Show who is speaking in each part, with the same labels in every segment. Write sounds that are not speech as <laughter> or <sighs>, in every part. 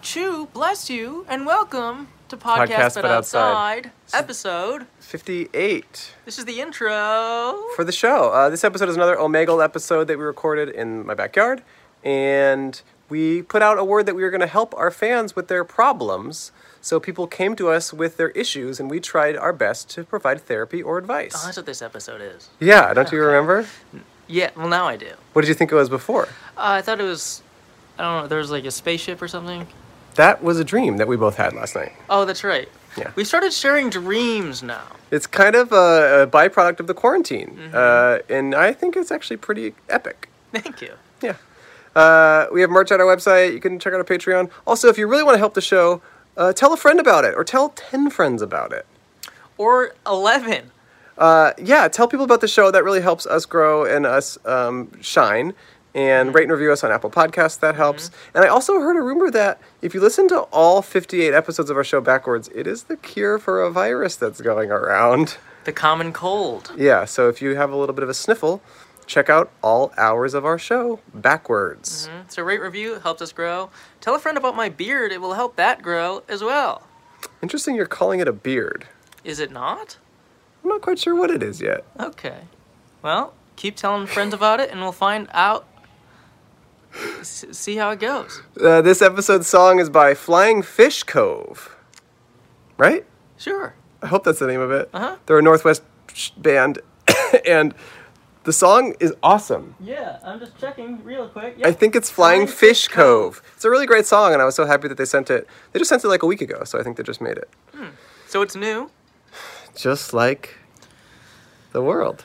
Speaker 1: Achoo, bless you, and welcome to Podcast,
Speaker 2: Podcast
Speaker 1: But,
Speaker 2: But
Speaker 1: Outside,
Speaker 2: Outside.
Speaker 1: episode.
Speaker 2: 58
Speaker 1: This is the intro.
Speaker 2: for the show. Uh, this episode is another Omegle episode that we recorded in my backyard, and we put out a word that we were going to help our fans with their problems. So people came to us with their issues, and we tried our best to provide therapy or
Speaker 1: Oh,
Speaker 2: advice.
Speaker 1: that's what this episode is.
Speaker 2: Yeah, don't you remember?
Speaker 1: Yeah, well, now I do.
Speaker 2: What did you think it was before?
Speaker 1: Uh, I thought it was, I don't know, there was like a spaceship or something.
Speaker 2: That was a dream that we both had last night.
Speaker 1: Oh, that's right.
Speaker 2: Yeah.
Speaker 1: We started sharing dreams now.
Speaker 2: It's kind of a, a byproduct of the quarantine, uh, and I think it's actually pretty epic.
Speaker 1: <laughs> Thank you.
Speaker 2: Yeah. Uh, we have merch on our website. You can check out our Patreon. Also, if you really want to help the show, uh, tell a friend about it or tell 10 friends about it.
Speaker 1: Or 11.
Speaker 2: Uh, yeah, tell people about the show. That really helps us grow and us um, shine. And rate and review us on Apple Podcasts. That helps. And I also heard a rumor that if you listen to all 58 episodes of our show backwards, it is the cure for a virus that's going around. <laughs>
Speaker 1: The common cold.
Speaker 2: Yeah, so if you have a little bit of a sniffle, check out all hours of our show backwards.
Speaker 1: Mm-hmm. So rate, review, it helps us grow. Tell a friend about my beard, it will help that grow as well.
Speaker 2: Interesting, you're calling it a beard.
Speaker 1: Is it not?
Speaker 2: I'm not quite sure what it is yet.
Speaker 1: Okay. Well, keep telling friends about it, and we'll find out. S- see how it goes.
Speaker 2: Uh, this episode's song is by Flying Fish Cove. Right?
Speaker 1: Sure.
Speaker 2: I hope that's the name of it.
Speaker 1: Uh-huh.
Speaker 2: They're a Northwest sh- band, <coughs> and the song is awesome.
Speaker 1: Yeah, I'm just checking real quick.
Speaker 2: I think it's Flying Fish Cove. It's a really great song, and I was so happy that they sent it. They just sent it like a week ago, so I think they just made it.
Speaker 1: Hmm. So it's new.
Speaker 2: Just like the world.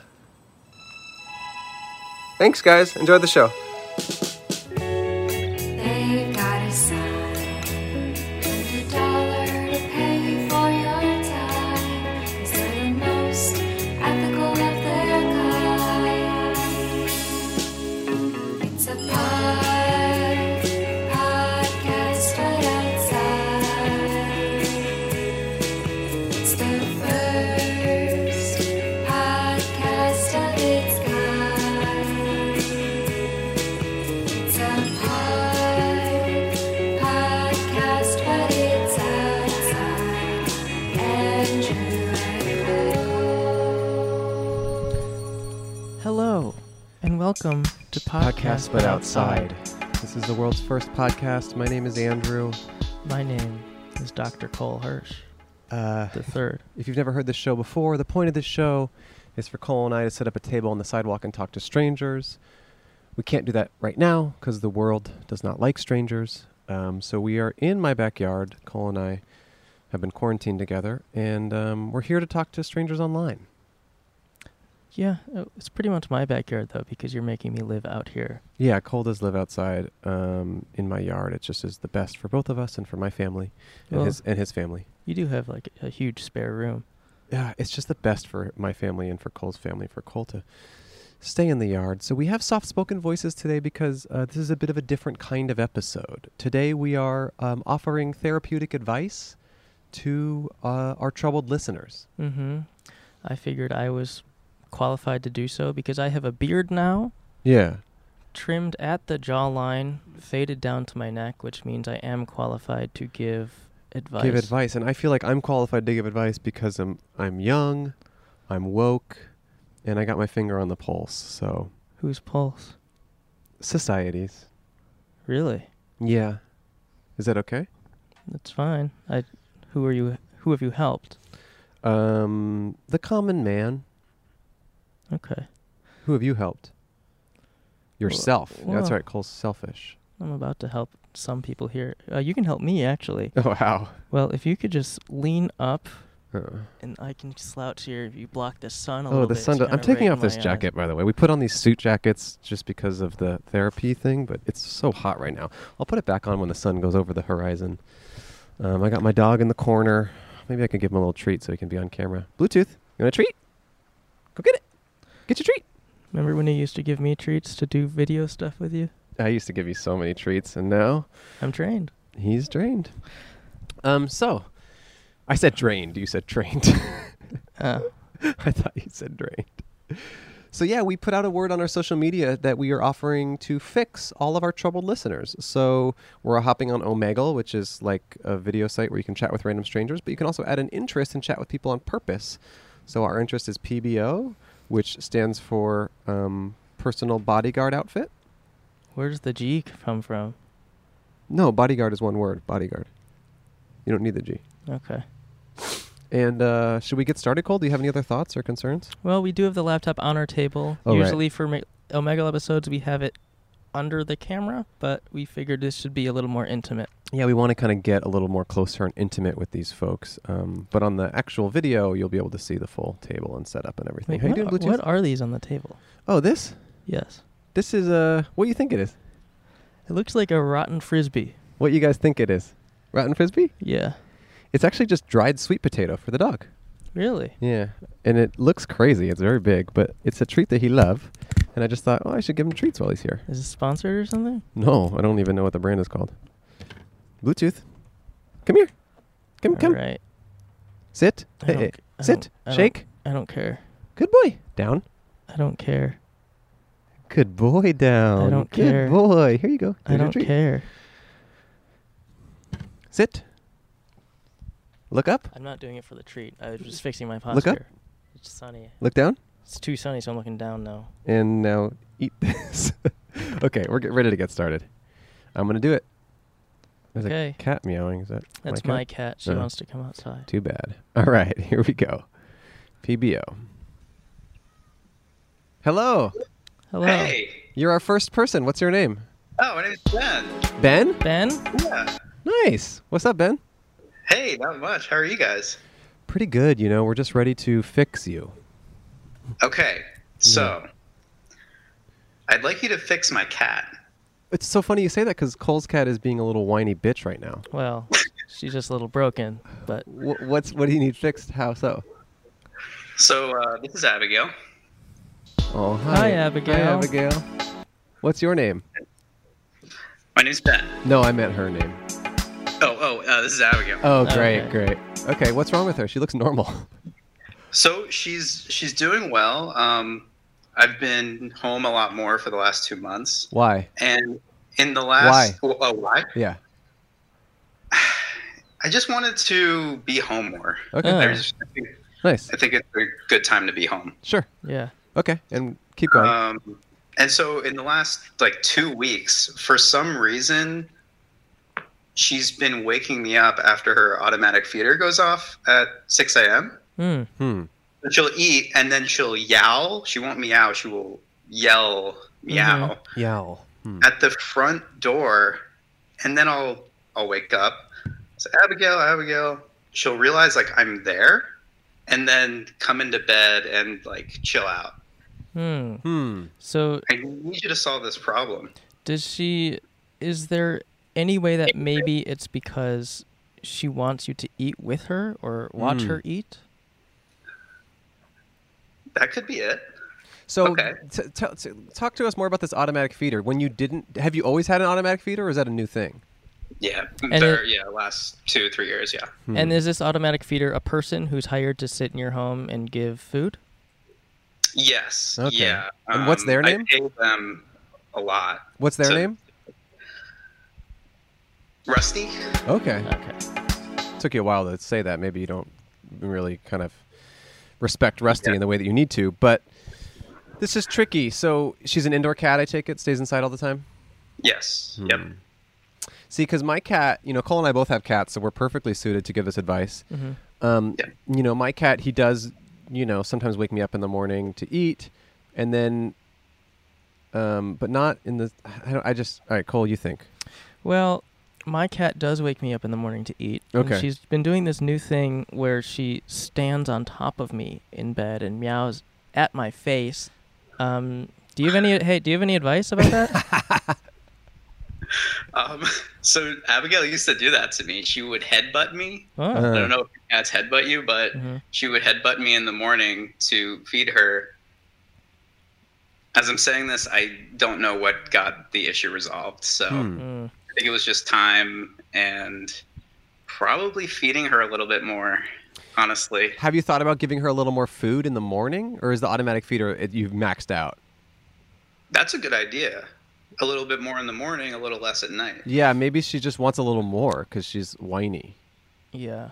Speaker 2: Thanks, guys. Enjoy the show.
Speaker 3: They've got a sign. Hundred dollar to pay for your time. Is that the most ethical of their kind? It's a pod, podcast right outside. It's the first podcast of its kind. It's a pod- podcast, but it's outside. Andrew and Cole.
Speaker 1: Hello, and welcome to
Speaker 2: Podcast But Outside. This is the world's first podcast. My name is Andrew.
Speaker 1: My name is Dr. Cole Hirsch
Speaker 2: Uh,
Speaker 1: the third.
Speaker 2: if you've never heard this show before, the point of this show is for Cole and I to set up a table on the sidewalk and talk to strangers. We can't do that right now because the world does not like strangers. Um, so we are in my backyard. Cole and I have been quarantined together, and um, we're here to talk to strangers online.
Speaker 1: Yeah, uh, it's pretty much my backyard though, because you're making me live out here.
Speaker 2: Yeah, Cole does live outside um, in my yard. It just is the best for both of us and for my family and
Speaker 1: Well-
Speaker 2: his and his family.
Speaker 1: You do have like a huge spare room.
Speaker 2: Yeah, it's just the best for my family and for Cole's family, for Cole to stay in the yard. So we have soft spoken voices today because uh, this is a bit of a different kind of episode. Today we are um, offering therapeutic advice to uh, our troubled listeners.
Speaker 1: Mm-hmm. I figured I was qualified to do so because I have a beard now.
Speaker 2: Yeah.
Speaker 1: trimmed at the jawline, faded down to my neck, which means I am qualified to give advice.
Speaker 2: Give advice. And I feel like I'm qualified to give advice because I'm, I'm young, I'm woke, and I got my finger on the pulse. So,
Speaker 1: Whose pulse?
Speaker 2: societies.
Speaker 1: Really?
Speaker 2: Yeah. Is that okay?
Speaker 1: That's fine. I. Who are you? Who have you helped?
Speaker 2: Um, the common man.
Speaker 1: Okay.
Speaker 2: Who have you helped? Yourself. That's
Speaker 1: well-
Speaker 2: right. Cole's selfish.
Speaker 1: I'm about to help some people here. Uh, you can help me actually.
Speaker 2: Oh <laughs> wow.
Speaker 1: Well, if you could just lean up,
Speaker 2: Uh,
Speaker 1: and I can slouch here. If you block the sun a
Speaker 2: oh,
Speaker 1: little
Speaker 2: the
Speaker 1: bit. it's
Speaker 2: sun. do- I'm
Speaker 1: kinda
Speaker 2: taking
Speaker 1: right
Speaker 2: off
Speaker 1: in
Speaker 2: this
Speaker 1: my uh, eye.
Speaker 2: jacket, by the way. We put on these suit jackets just because of the therapy thing, but it's so hot right now. I'll put it back on when the sun goes over the horizon. Um, I got my dog in the corner. Maybe I can give him a little treat so he can be on camera. Bluetooth. You want a treat? Go get it. Get your treat.
Speaker 1: Remember when you used to give me treats to do video stuff with you?
Speaker 2: I used to give you so many treats, and now
Speaker 1: I'm trained.
Speaker 2: he's drained. Um. So, I <laughs> said drained. You said trained.
Speaker 1: Uh,
Speaker 2: I thought you said drained. So yeah, we put out a word on our social media that we are offering to fix all of our troubled listeners. So we're hopping on Omegle, which is like a video site where you can chat with random strangers, but you can also add an interest and chat with people on purpose. So our interest is PBO, which stands for um, personal bodyguard outfit.
Speaker 1: Where's the G come from?
Speaker 2: No, bodyguard is one word. Bodyguard. You don't need the G.
Speaker 1: Okay.
Speaker 2: And uh, should we get started, Cole? Do you have any other thoughts or concerns?
Speaker 1: Well, we do have the laptop on our table.
Speaker 2: Oh, right.
Speaker 1: Usually for me- Omega episodes, we have it under the camera, but we figured this should be a little more intimate.
Speaker 2: Yeah, we want to kind of get a little more closer and intimate with these folks. Um, but on the actual video, you'll be able to see the full table and setup and everything.
Speaker 1: Wait,
Speaker 2: How you
Speaker 1: what,
Speaker 2: doing,
Speaker 1: are,
Speaker 2: Bluetooth?
Speaker 1: what are these on the table?
Speaker 2: Oh, this?
Speaker 1: Yes.
Speaker 2: This is uh, what do you think it is?
Speaker 1: It looks like a rotten frisbee.
Speaker 2: What you guys think it is? Rotten frisbee?
Speaker 1: Yeah.
Speaker 2: It's actually just dried sweet potato for the dog.
Speaker 1: Really?
Speaker 2: Yeah, and it looks crazy. It's very big, but it's a treat that he loves. And I just thought, oh, I should give him treats while he's here.
Speaker 1: Is it sponsored or something?
Speaker 2: No, I don't even know what the brand is called. Bluetooth, come here, come, come,
Speaker 1: All right.
Speaker 2: sit,
Speaker 1: I
Speaker 2: Hey,
Speaker 1: don't
Speaker 2: hey,
Speaker 1: c- I
Speaker 2: sit,
Speaker 1: don't- I don't-
Speaker 2: shake.
Speaker 1: I don't care.
Speaker 2: Good boy, down.
Speaker 1: I don't care.
Speaker 2: Good boy, down.
Speaker 1: don't
Speaker 2: Good
Speaker 1: care.
Speaker 2: boy. Here you go.
Speaker 1: I
Speaker 2: Here's your
Speaker 1: don't
Speaker 2: treat.
Speaker 1: care.
Speaker 2: Sit. Look up.
Speaker 1: I'm not doing it for the treat. I was just fixing my posture.
Speaker 2: Look up.
Speaker 1: It's sunny.
Speaker 2: Look down.
Speaker 1: It's too sunny, so I'm looking down now.
Speaker 2: And now eat <laughs> this. okay, we're get ready to get started. I'm gonna do it. There's
Speaker 1: Okay.
Speaker 2: a cat meowing. Is that
Speaker 1: That's
Speaker 2: cat?
Speaker 1: my cat. She
Speaker 2: Oh.
Speaker 1: wants to come outside.
Speaker 2: Too bad. <laughs> All right, here we go. PBO. Hello.
Speaker 1: Hello.
Speaker 4: Hey.
Speaker 2: You're our first person. What's your name?
Speaker 4: Oh, my name's Ben.
Speaker 2: Ben?
Speaker 1: Ben?
Speaker 4: Yeah.
Speaker 2: Nice. What's up, Ben?
Speaker 4: Hey, not much. How are you guys?
Speaker 2: Pretty good, you know. We're just ready to fix you.
Speaker 4: Okay. So, I'd like you to fix my cat.
Speaker 2: It's so funny you say that because Cole's cat is being a little whiny bitch right now.
Speaker 1: Well, she's just a little broken, but
Speaker 2: Wh- what's what do you need fixed? How so?
Speaker 4: So, uh, this is Abigail.
Speaker 2: Oh, hi,
Speaker 1: Hi, Abigail.
Speaker 2: Hi, Abigail. What's your name?
Speaker 4: My name's Ben.
Speaker 2: No, I meant her name.
Speaker 4: Oh, oh, uh, this is Abigail.
Speaker 2: Oh, great,
Speaker 1: Okay.
Speaker 2: great. Okay, what's wrong with her? She looks normal. <laughs>
Speaker 4: So she's she's doing well. Um, I've been home a lot more for the last two months,
Speaker 2: Why?
Speaker 4: and in the last oh, oh why?
Speaker 2: Yeah.
Speaker 4: I just wanted to be home more.
Speaker 2: Okay.
Speaker 1: Uh.
Speaker 4: I, just, I, think,
Speaker 2: Nice.
Speaker 4: I think it's a good time to be home.
Speaker 2: Sure.
Speaker 1: yeah.
Speaker 2: Okay, and keep going.
Speaker 4: Um, and so in the last like two weeks, for some reason, she's been waking me up after her automatic feeder goes off at 6 a.m.
Speaker 1: Hmm.
Speaker 2: hmm.
Speaker 4: And she'll eat and then she'll yowl. She won't meow. She will yell meow
Speaker 1: Mm-hmm.
Speaker 2: Yowl. Hmm.
Speaker 4: at the front door, and then I'll I'll wake up. So Abigail, Abigail, she'll realize like I'm there, and then come into bed and like chill out.
Speaker 1: Hmm.
Speaker 2: Hmm.
Speaker 1: So,
Speaker 4: I need you to solve this problem.
Speaker 1: does she. Is there any way that maybe it's because she wants you to eat with her or watch
Speaker 2: Mm.
Speaker 1: her eat?
Speaker 4: That could be it.
Speaker 2: So,
Speaker 4: Okay.
Speaker 2: t- t- t- talk to us more about this automatic feeder. When you didn't, have you always had an automatic feeder, or is that a new thing?
Speaker 4: Yeah,
Speaker 1: it- Hmm.
Speaker 4: there, yeah, last two three years, yeah.
Speaker 1: And is this automatic feeder a person who's hired to sit in your home and give food?
Speaker 4: Yes,
Speaker 2: Okay.
Speaker 4: yeah. um,
Speaker 2: And what's their name?
Speaker 4: I pay them a lot.
Speaker 2: What's their
Speaker 4: So-
Speaker 2: name?
Speaker 4: Rusty. <laughs>
Speaker 2: Okay.
Speaker 1: Okay.
Speaker 2: took you a while to say that. Maybe you don't really kind of respect Rusty in the way that you need to. But this is tricky. So she's an indoor cat. I take it stays inside all the time.
Speaker 4: Yes. Yep.
Speaker 2: See, because my cat, you know, Cole and I both have cats, so we're perfectly suited to give this advice. Um,
Speaker 4: Yeah.
Speaker 2: You know, my cat, he does, you know, sometimes wake me up in the morning to eat, and then, um, but not in the. I, don't, I just. All right, Cole, you think?
Speaker 1: Well, my cat does wake me up in the morning to eat. and
Speaker 2: Okay.
Speaker 1: she's been doing this new thing where she stands on top of me in bed and meows at my face. Um, do you have any? Hey, do you have any advice about that?
Speaker 4: Um, so Abigail used to do that to me. She would headbutt me.
Speaker 1: oh,
Speaker 2: Uh,
Speaker 4: I don't know if cats headbutt you, but
Speaker 1: Mhm.
Speaker 4: she would headbutt me in the morning to feed her. As I'm saying this, I don't know what got the issue resolved.
Speaker 2: <laughs>
Speaker 4: So
Speaker 2: Hmm.
Speaker 1: mm.
Speaker 4: I think it was just time and probably feeding her a little bit more. honestly.
Speaker 2: Have you thought about giving her a little more food in the morning, or is the automatic feeder it, you've maxed out?
Speaker 4: That's a good idea. A little bit more in the morning, a little less at night.
Speaker 2: Yeah, maybe she just wants a little more because she's whiny.
Speaker 1: Yeah.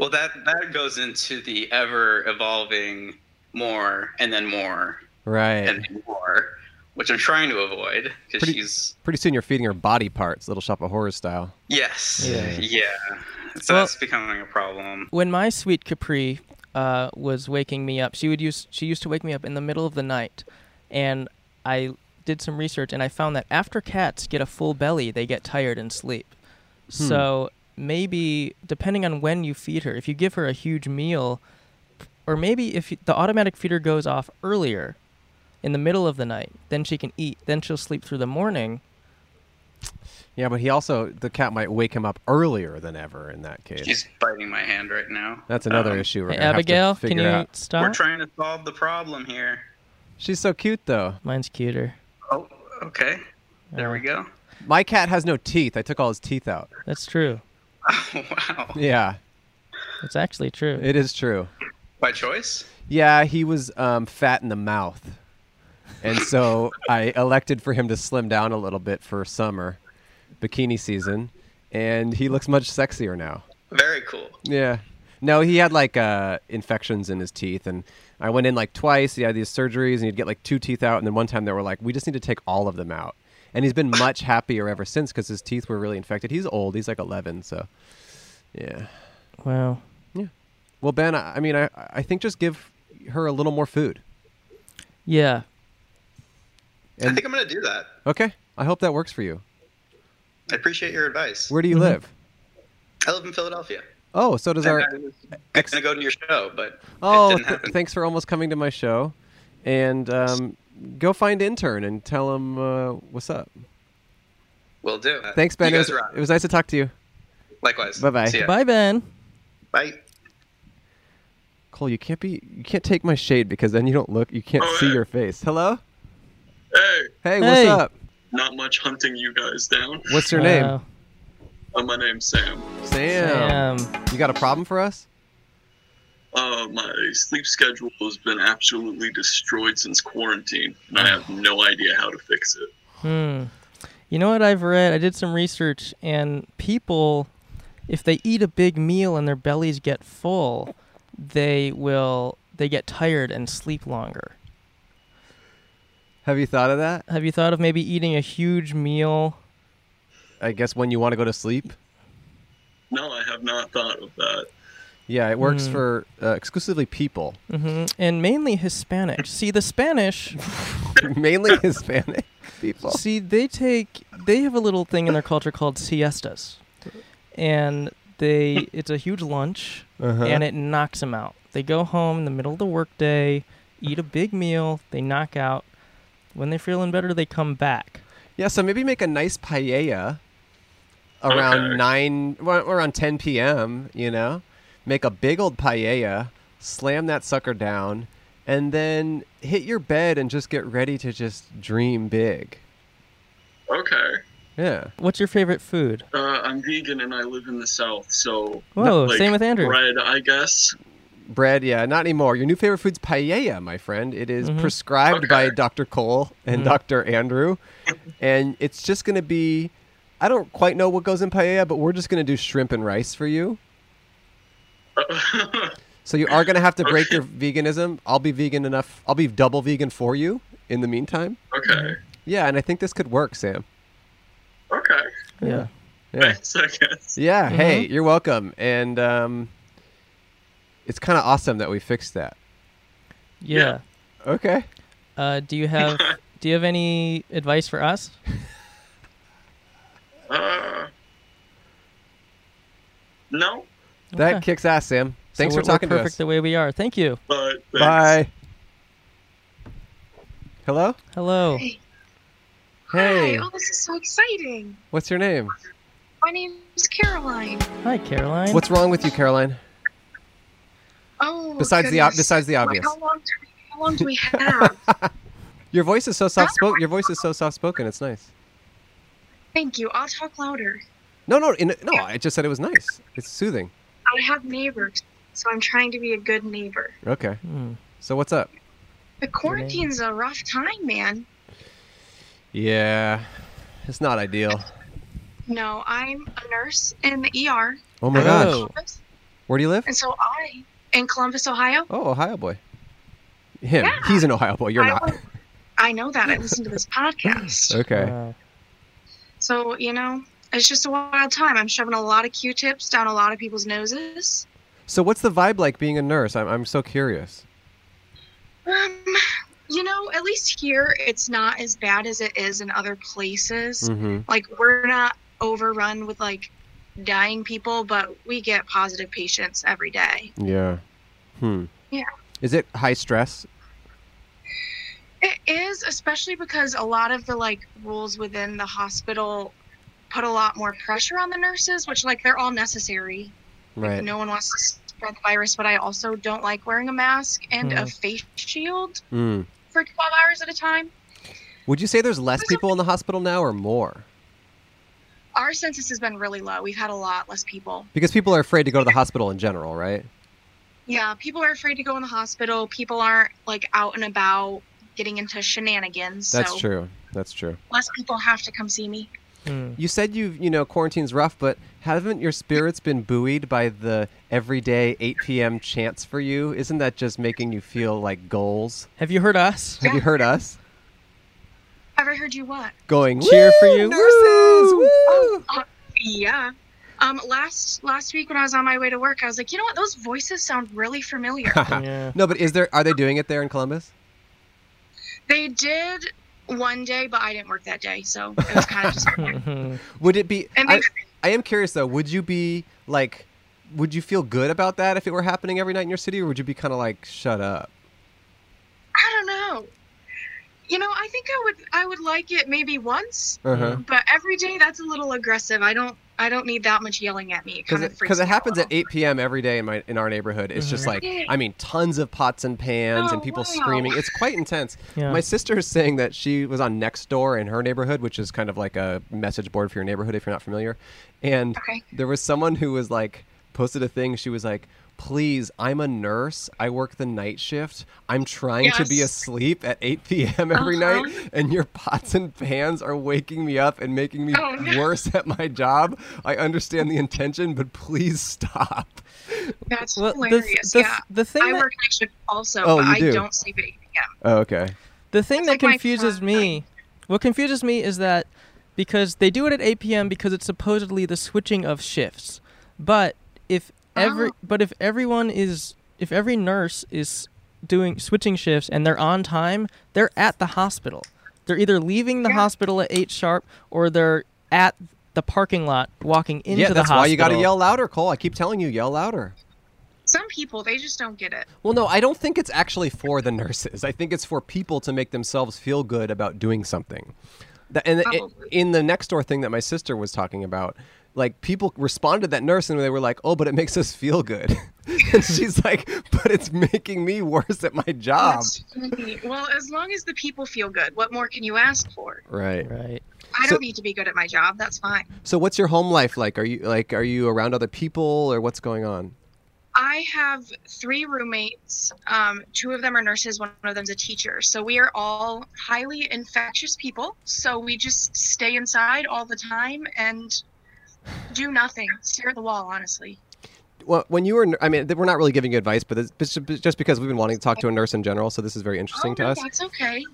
Speaker 4: Well, that that goes into the ever evolving more and then more
Speaker 2: Right.
Speaker 4: and then more, which I'm trying to avoid because
Speaker 2: Pretty-
Speaker 4: she's
Speaker 2: Pretty soon you're feeding her body parts, Little Shop of Horrors style.
Speaker 4: yes,
Speaker 1: Yeah.
Speaker 4: yeah. So
Speaker 1: Well-
Speaker 4: that's becoming a problem.
Speaker 1: When my sweet Capri uh, was waking me up, she would use she used to wake me up in the middle of the night, and I did some research and I found that after cats get a full belly, they get tired and sleep. So maybe depending on when you feed her, if you give her a huge meal, or maybe if you, the automatic feeder goes off earlier, in the middle of the night, then she can eat, then she'll sleep through the morning.
Speaker 2: Yeah, but he also the cat might wake him up earlier than ever in that case.
Speaker 4: She's biting my hand right now.
Speaker 2: That's another
Speaker 4: Um,
Speaker 2: issue. We're
Speaker 1: Hey,
Speaker 2: gonna have to
Speaker 1: Abigail, can
Speaker 2: figure
Speaker 1: you
Speaker 2: out.
Speaker 1: stop?
Speaker 4: We're trying to solve the problem here.
Speaker 2: She's so cute though.
Speaker 1: Mine's cuter.
Speaker 4: Oh, okay. There we go. <laughs>
Speaker 2: My cat has no teeth. I took all his teeth out.
Speaker 1: That's true.
Speaker 4: Oh, wow.
Speaker 2: Yeah,
Speaker 1: It's actually true.
Speaker 2: it is true.
Speaker 4: By choice?
Speaker 2: Yeah, he was um, fat in the mouth, and so I elected for him to slim down a little bit for summer, bikini season, and he looks much sexier now.
Speaker 4: Very cool.
Speaker 2: Yeah. No, he had like uh, infections in his teeth, and I went in like twice. He had these surgeries, and he'd get like two teeth out, and then one time they were like, "We just need to take all of them out." And he's been much happier ever since because his teeth were really infected. He's old; he's like eleven, so yeah.
Speaker 1: Wow.
Speaker 2: Well, Ben, I, I mean, I I think just give her a little more food.
Speaker 1: Yeah.
Speaker 4: I
Speaker 2: And-
Speaker 4: think I'm going to do that.
Speaker 2: Okay, I hope that works for you.
Speaker 4: I appreciate your advice.
Speaker 2: Where do you
Speaker 1: Mhm.
Speaker 2: live?
Speaker 4: I live in Philadelphia.
Speaker 2: Oh, so does our
Speaker 4: And I was
Speaker 2: ex.
Speaker 4: going to go to your show, but it
Speaker 2: Oh,
Speaker 4: didn't
Speaker 2: th-
Speaker 4: happen.
Speaker 2: thanks for almost coming to my show, and um, go find intern and tell him uh, what's up.
Speaker 4: Will do.
Speaker 2: Thanks, Ben.
Speaker 4: You
Speaker 2: It
Speaker 4: guys
Speaker 2: was,
Speaker 4: rock.
Speaker 2: it was nice to talk to you.
Speaker 4: Likewise.
Speaker 2: Bye-bye.
Speaker 4: See ya.
Speaker 1: Bye, Ben.
Speaker 4: Bye.
Speaker 2: Cole, you can't be you can't take my shade because then you don't look you can't
Speaker 5: Oh,
Speaker 2: see
Speaker 5: yeah.
Speaker 2: your face. Hello?
Speaker 5: Hey,
Speaker 2: Hey,
Speaker 1: Hey.
Speaker 2: what's up?
Speaker 5: not much hunting you guys down.
Speaker 2: What's your
Speaker 1: Wow.
Speaker 5: Uh, my name's Sam.
Speaker 2: name? Sam.
Speaker 1: Damn.
Speaker 2: You got a problem for us?
Speaker 5: Uh, my sleep schedule has been absolutely destroyed since quarantine, and I have no idea how to fix it.
Speaker 1: Hmm. You know what I've read? I did some research, and people, if they eat a big meal and their bellies get full, they will they get tired and sleep longer.
Speaker 2: Have you thought of that?
Speaker 1: Have you thought of maybe eating a huge meal?
Speaker 2: I guess when you want to go to sleep.
Speaker 5: No, I have not thought of that.
Speaker 2: Yeah, it works
Speaker 1: Hmm.
Speaker 2: for uh, exclusively people,
Speaker 1: hmm And mainly Hispanic. See, the Spanish,
Speaker 2: <laughs> mainly Hispanic people.
Speaker 1: see, they take they have a little thing in their culture called siestas, and
Speaker 2: <laughs>
Speaker 1: they it's a huge lunch.
Speaker 2: Uh-huh.
Speaker 1: and it knocks them out. They go home in the middle of the workday, eat a big meal, they knock out. When they're feeling better, they come back.
Speaker 2: yeah, so maybe make a nice paella around
Speaker 5: Okay.
Speaker 2: nine, well, around ten p.m. You know, make a big old paella, slam that sucker down, and then hit your bed and just get ready to just dream big.
Speaker 5: Okay.
Speaker 2: Yeah.
Speaker 1: What's your favorite food?
Speaker 5: Uh, I'm vegan and I live in the south, so.
Speaker 1: Whoa,
Speaker 5: like,
Speaker 1: same with Andrew.
Speaker 5: Bread, I guess. <laughs>
Speaker 2: Bread, yeah, not anymore. Your new favorite food's paella, my friend. It is
Speaker 1: Mhm.
Speaker 2: prescribed
Speaker 5: Okay.
Speaker 2: by Dr. Cole and
Speaker 1: Mhm.
Speaker 2: Dr. Andrew. and it's just going to be, I don't quite know what goes in paella, but we're just going to do shrimp and rice for you. So you are going to have to break your veganism. I'll be vegan enough. I'll be double vegan for you in the meantime.
Speaker 5: okay.
Speaker 2: Yeah, and I think this could work, Sam.
Speaker 5: Okay.
Speaker 1: Yeah.
Speaker 2: Yeah.
Speaker 5: Thanks, I guess.
Speaker 2: Yeah,
Speaker 1: Mm-hmm.
Speaker 2: hey, you're welcome. And um, it's kind of awesome that we fixed that.
Speaker 1: Yeah.
Speaker 2: Okay.
Speaker 1: Uh, do you have Do you have any advice for us?
Speaker 5: Uh, no,
Speaker 2: That
Speaker 1: Okay.
Speaker 2: kicks ass, Sam. Thanks for
Speaker 1: So we're- we're
Speaker 2: talking to
Speaker 1: perfect
Speaker 2: us.
Speaker 1: the way we are. Thank you.
Speaker 5: but. Thanks.
Speaker 2: Bye. Hello?
Speaker 1: Hello.
Speaker 6: Hey.
Speaker 2: Hey,
Speaker 6: Hi. Oh, this is so exciting.
Speaker 2: what's your name?
Speaker 6: My name is Caroline.
Speaker 1: Hi, Caroline.
Speaker 2: What's wrong with you, Caroline?
Speaker 6: Oh.
Speaker 2: Besides the ob-
Speaker 6: goodness.
Speaker 2: besides the
Speaker 6: Wait,
Speaker 2: obvious.
Speaker 6: How long do we, how long do we
Speaker 2: <laughs>
Speaker 6: have?
Speaker 2: Your voice is so soft spoken. Your voice is so soft spoken. It's nice.
Speaker 6: Thank you. I'll talk louder.
Speaker 2: No, no, in, no. I just said it was nice. It's soothing.
Speaker 6: I have neighbors. so I'm trying to be a good neighbor.
Speaker 2: Okay.
Speaker 1: Hmm.
Speaker 2: So what's up?
Speaker 6: The quarantine's a rough time, man.
Speaker 2: Yeah, it's not ideal.
Speaker 6: No, I'm a nurse in the ER.
Speaker 2: Oh
Speaker 6: I'm
Speaker 2: my
Speaker 6: in
Speaker 2: gosh.
Speaker 1: Oh.
Speaker 6: Columbus,
Speaker 2: Where do you live?
Speaker 6: And so I, in Columbus, Ohio,
Speaker 2: Oh, Ohio boy. Him.
Speaker 6: Yeah.
Speaker 2: He's an Ohio boy. You're
Speaker 6: I
Speaker 2: not.
Speaker 6: work- I know that. I listen to
Speaker 2: <laughs>
Speaker 6: this podcast.
Speaker 2: Okay.
Speaker 1: Wow.
Speaker 6: So, you know, it's just a wild time. I'm shoving a lot of Q tips down a lot of people's noses.
Speaker 2: So what's the vibe like being a nurse? I'm I'm so curious.
Speaker 6: Um, you know, at least here, it's not as bad as it is in other places.
Speaker 2: Mm-hmm.
Speaker 6: Like, we're not overrun with like dying people, but we get positive patients every day.
Speaker 2: Yeah. Hmm.
Speaker 6: Yeah.
Speaker 2: Is it high stress?
Speaker 6: It is, especially because a lot of the like rules within the hospital put a lot more pressure on the nurses, which like they're all necessary.
Speaker 2: Right.
Speaker 6: No one wants to spread the virus, but I also don't like wearing a mask and
Speaker 2: Hmm.
Speaker 6: a face shield
Speaker 2: Mm.
Speaker 6: for 12 hours at a time.
Speaker 2: Would you say there's less people in the hospital now or more?
Speaker 6: Our census has been really low. We've had a lot less people.
Speaker 2: Because people are afraid to go to the hospital in general, right?
Speaker 6: Yeah, people are afraid to go in the hospital. People aren't like out and about getting into shenanigans.
Speaker 2: That's
Speaker 6: so
Speaker 2: true. That's true.
Speaker 6: less people have to come see me.
Speaker 1: Hmm.
Speaker 2: You said you you know quarantine's rough, but haven't your spirits been buoyed by the everyday 8 p.m. chants for you? Isn't that just making you feel like goals?
Speaker 1: Have you heard us?
Speaker 2: Have you heard us
Speaker 6: Ever heard you what? Um, uh,
Speaker 2: going
Speaker 1: Cheer for
Speaker 2: "Woo,
Speaker 1: you.
Speaker 2: nurses?
Speaker 1: Woo!"
Speaker 2: woo!"
Speaker 6: Yeah. Um, last last week when I was on my way to work, I was like, you know what? Those voices sound really
Speaker 1: <laughs>
Speaker 6: familiar.
Speaker 1: yeah.
Speaker 2: No, but is there are they doing it there in Columbus?
Speaker 6: they did one day, but I didn't work that day, so it was kind of just.
Speaker 1: Mhm.
Speaker 2: <laughs> Would it be?
Speaker 6: And
Speaker 2: I,
Speaker 6: they-
Speaker 2: I am curious though. Would you be like? Would you feel good about that if it were happening every night in your city, or would you be kind of like shut up?
Speaker 6: I don't know. You know, I think I would I would like it maybe once,
Speaker 2: Uh-huh.
Speaker 6: but every day that's a little aggressive. I don't I don't need that much yelling at me. It kind of freaks
Speaker 2: Because
Speaker 6: me
Speaker 2: it,
Speaker 6: out a
Speaker 2: happens at
Speaker 6: little.
Speaker 2: 8 p.m. every day in my in our neighborhood. It's just
Speaker 1: Mhm.
Speaker 2: like
Speaker 6: Yeah.
Speaker 2: I mean, tons of pots and pans and
Speaker 6: Oh,
Speaker 2: people
Speaker 6: wow.
Speaker 2: screaming. It's quite intense.
Speaker 1: Yeah.
Speaker 2: My sister is saying that she was on Nextdoor in her neighborhood, which is kind of like a message board for your neighborhood if you're not familiar. And
Speaker 6: Okay.
Speaker 2: there was someone who was like posted a thing. She was like, "Please, I'm a nurse. I work the night shift. I'm trying to be
Speaker 6: Yes. Uh-huh.
Speaker 2: asleep at 8 p.m. every night, and your pots and pans are waking me up and making me
Speaker 6: Oh, no.
Speaker 2: worse at my job. I understand the intention, but please stop."
Speaker 6: That's
Speaker 1: Well, the, th-
Speaker 6: hilarious.
Speaker 1: the, th-
Speaker 6: yeah.
Speaker 1: the thing
Speaker 6: I
Speaker 1: that,
Speaker 6: work night shift also,
Speaker 2: Oh,
Speaker 6: but
Speaker 2: you
Speaker 6: I
Speaker 2: do.
Speaker 6: don't sleep at 8 p.m.
Speaker 2: Oh, okay.
Speaker 1: the thing
Speaker 6: It's
Speaker 1: that
Speaker 6: like my
Speaker 1: confuses
Speaker 6: prime.
Speaker 1: me, what confuses me is that because they do it at 8 p.m. because it's supposedly the switching of shifts, but if every
Speaker 6: Oh.
Speaker 1: but if everyone is if every nurse is doing switching shifts and they're on time, they're at the hospital. They're either leaving the
Speaker 6: Yeah.
Speaker 1: hospital at eight sharp or they're at the parking lot walking into
Speaker 2: yeah,
Speaker 1: the
Speaker 2: that's
Speaker 1: hospital.
Speaker 2: why you got to yell louder, Cole. I keep telling you, yell louder.
Speaker 6: Some people they just don't get it.
Speaker 2: Well, no, I don't think it's actually for the nurses. I think it's for people to make themselves feel good about doing something. That, and it,
Speaker 6: Probably.
Speaker 2: in the next door thing that my sister was talking about, like people responded to that nurse and they were like, "Oh, but it makes us feel good." <laughs> and she's like, "But it's making me worse at my job."
Speaker 6: That's funny. well, as long as the people feel good, what more can you ask for?
Speaker 2: Right.
Speaker 1: Right.
Speaker 6: I
Speaker 2: So-
Speaker 6: don't need to be good at my job. That's fine.
Speaker 2: So, what's your home life like? Are you like are you around other people or what's going on?
Speaker 6: I have three roommates. Um, two of them are nurses, one of them's a teacher. So we are all highly infectious people. So we just stay inside all the time and do nothing, stare at the wall, honestly.
Speaker 2: Well, when you were, I mean, we're not really giving you advice, but it's just because we've been wanting to talk to a nurse in general, so this is very interesting
Speaker 6: oh,
Speaker 2: to
Speaker 6: no,
Speaker 2: us.
Speaker 6: That's okay.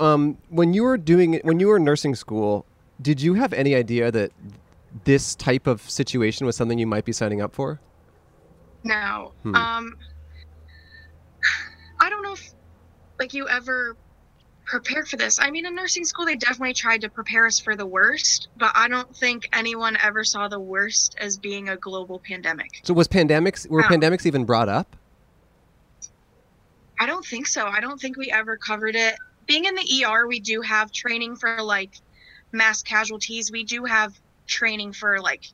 Speaker 2: um, when you were doing when you were in nursing school, did you have any idea that this type of situation was something you might be signing up for?
Speaker 6: No.
Speaker 2: Hmm.
Speaker 6: Um, <sighs> I don't know if like you ever prepared for this. I mean, in nursing school, they definitely tried to prepare us for the worst, but I don't think anyone ever saw the worst as being a global pandemic.
Speaker 2: So was pandemics were
Speaker 6: No.
Speaker 2: pandemics even brought up?
Speaker 6: I don't think so. I don't think we ever covered it. Being in the ER, we do have training for like mass casualties. We do have training for like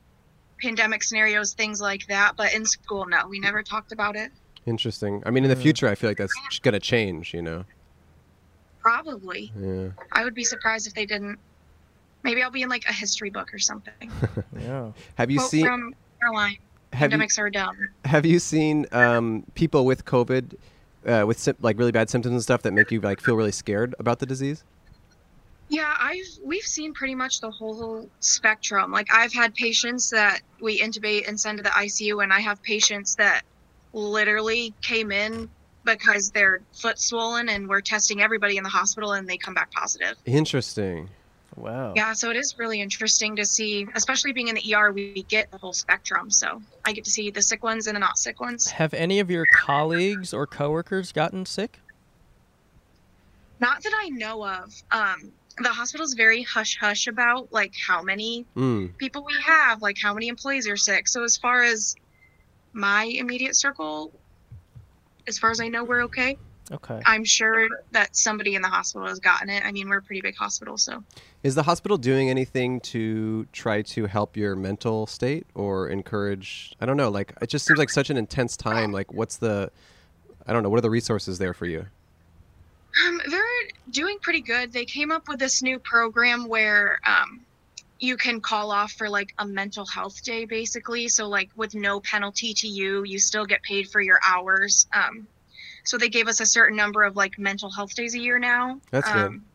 Speaker 6: pandemic scenarios, things like that. But in school, no, we never talked about it.
Speaker 2: Interesting. I mean, in the
Speaker 1: Yeah.
Speaker 2: future, I feel like that's ch- gonna change. You know?
Speaker 6: Probably.
Speaker 2: Yeah. <laughs>
Speaker 6: I would be surprised if they didn't. Maybe I'll be in like a history book or something.
Speaker 1: Yeah.
Speaker 2: Have you
Speaker 6: Quote
Speaker 2: seen
Speaker 6: from Caroline.
Speaker 2: Have you,
Speaker 6: Pandemics are dumb.
Speaker 2: have you seen um, people with COVID, uh, with sym- like really bad symptoms and stuff that make you like feel really scared about the disease?
Speaker 6: Yeah, I've we've seen pretty much the whole spectrum. Like I've had patients that we intubate and send to the ICU and I have patients that literally came in because their foot's swollen and we're testing everybody in the hospital and they come back positive.
Speaker 2: Interesting. Oh.
Speaker 1: Wow.
Speaker 6: Yeah, so it is really interesting to see, especially being in the ER, we get the whole spectrum. So I get to see the sick ones and the not sick ones.
Speaker 1: Have any of your colleagues or coworkers gotten sick?
Speaker 6: Not that I know of. Um, the hospital's very hush hush about like how many
Speaker 3: Hmm.
Speaker 2: Mm.
Speaker 6: people we have, like how many employees are sick. So as far as my immediate circle, as far as I know, we're okay.
Speaker 1: Okay.
Speaker 6: I'm sure that somebody in the hospital has gotten it. I mean, we're a pretty big hospital, so
Speaker 2: Is the hospital doing anything to try to help your mental state or encourage? I don't know. Like it just seems like such an intense time. Like what's the? I don't know. What are the resources there for you?
Speaker 6: um, they're doing pretty good. They came up with this new program where um, you can call off for like a mental health day, basically. So like with no penalty to you, you still get paid for your hours. Um, so they gave us a certain number of like mental health days a year now.
Speaker 2: That's good.
Speaker 6: um,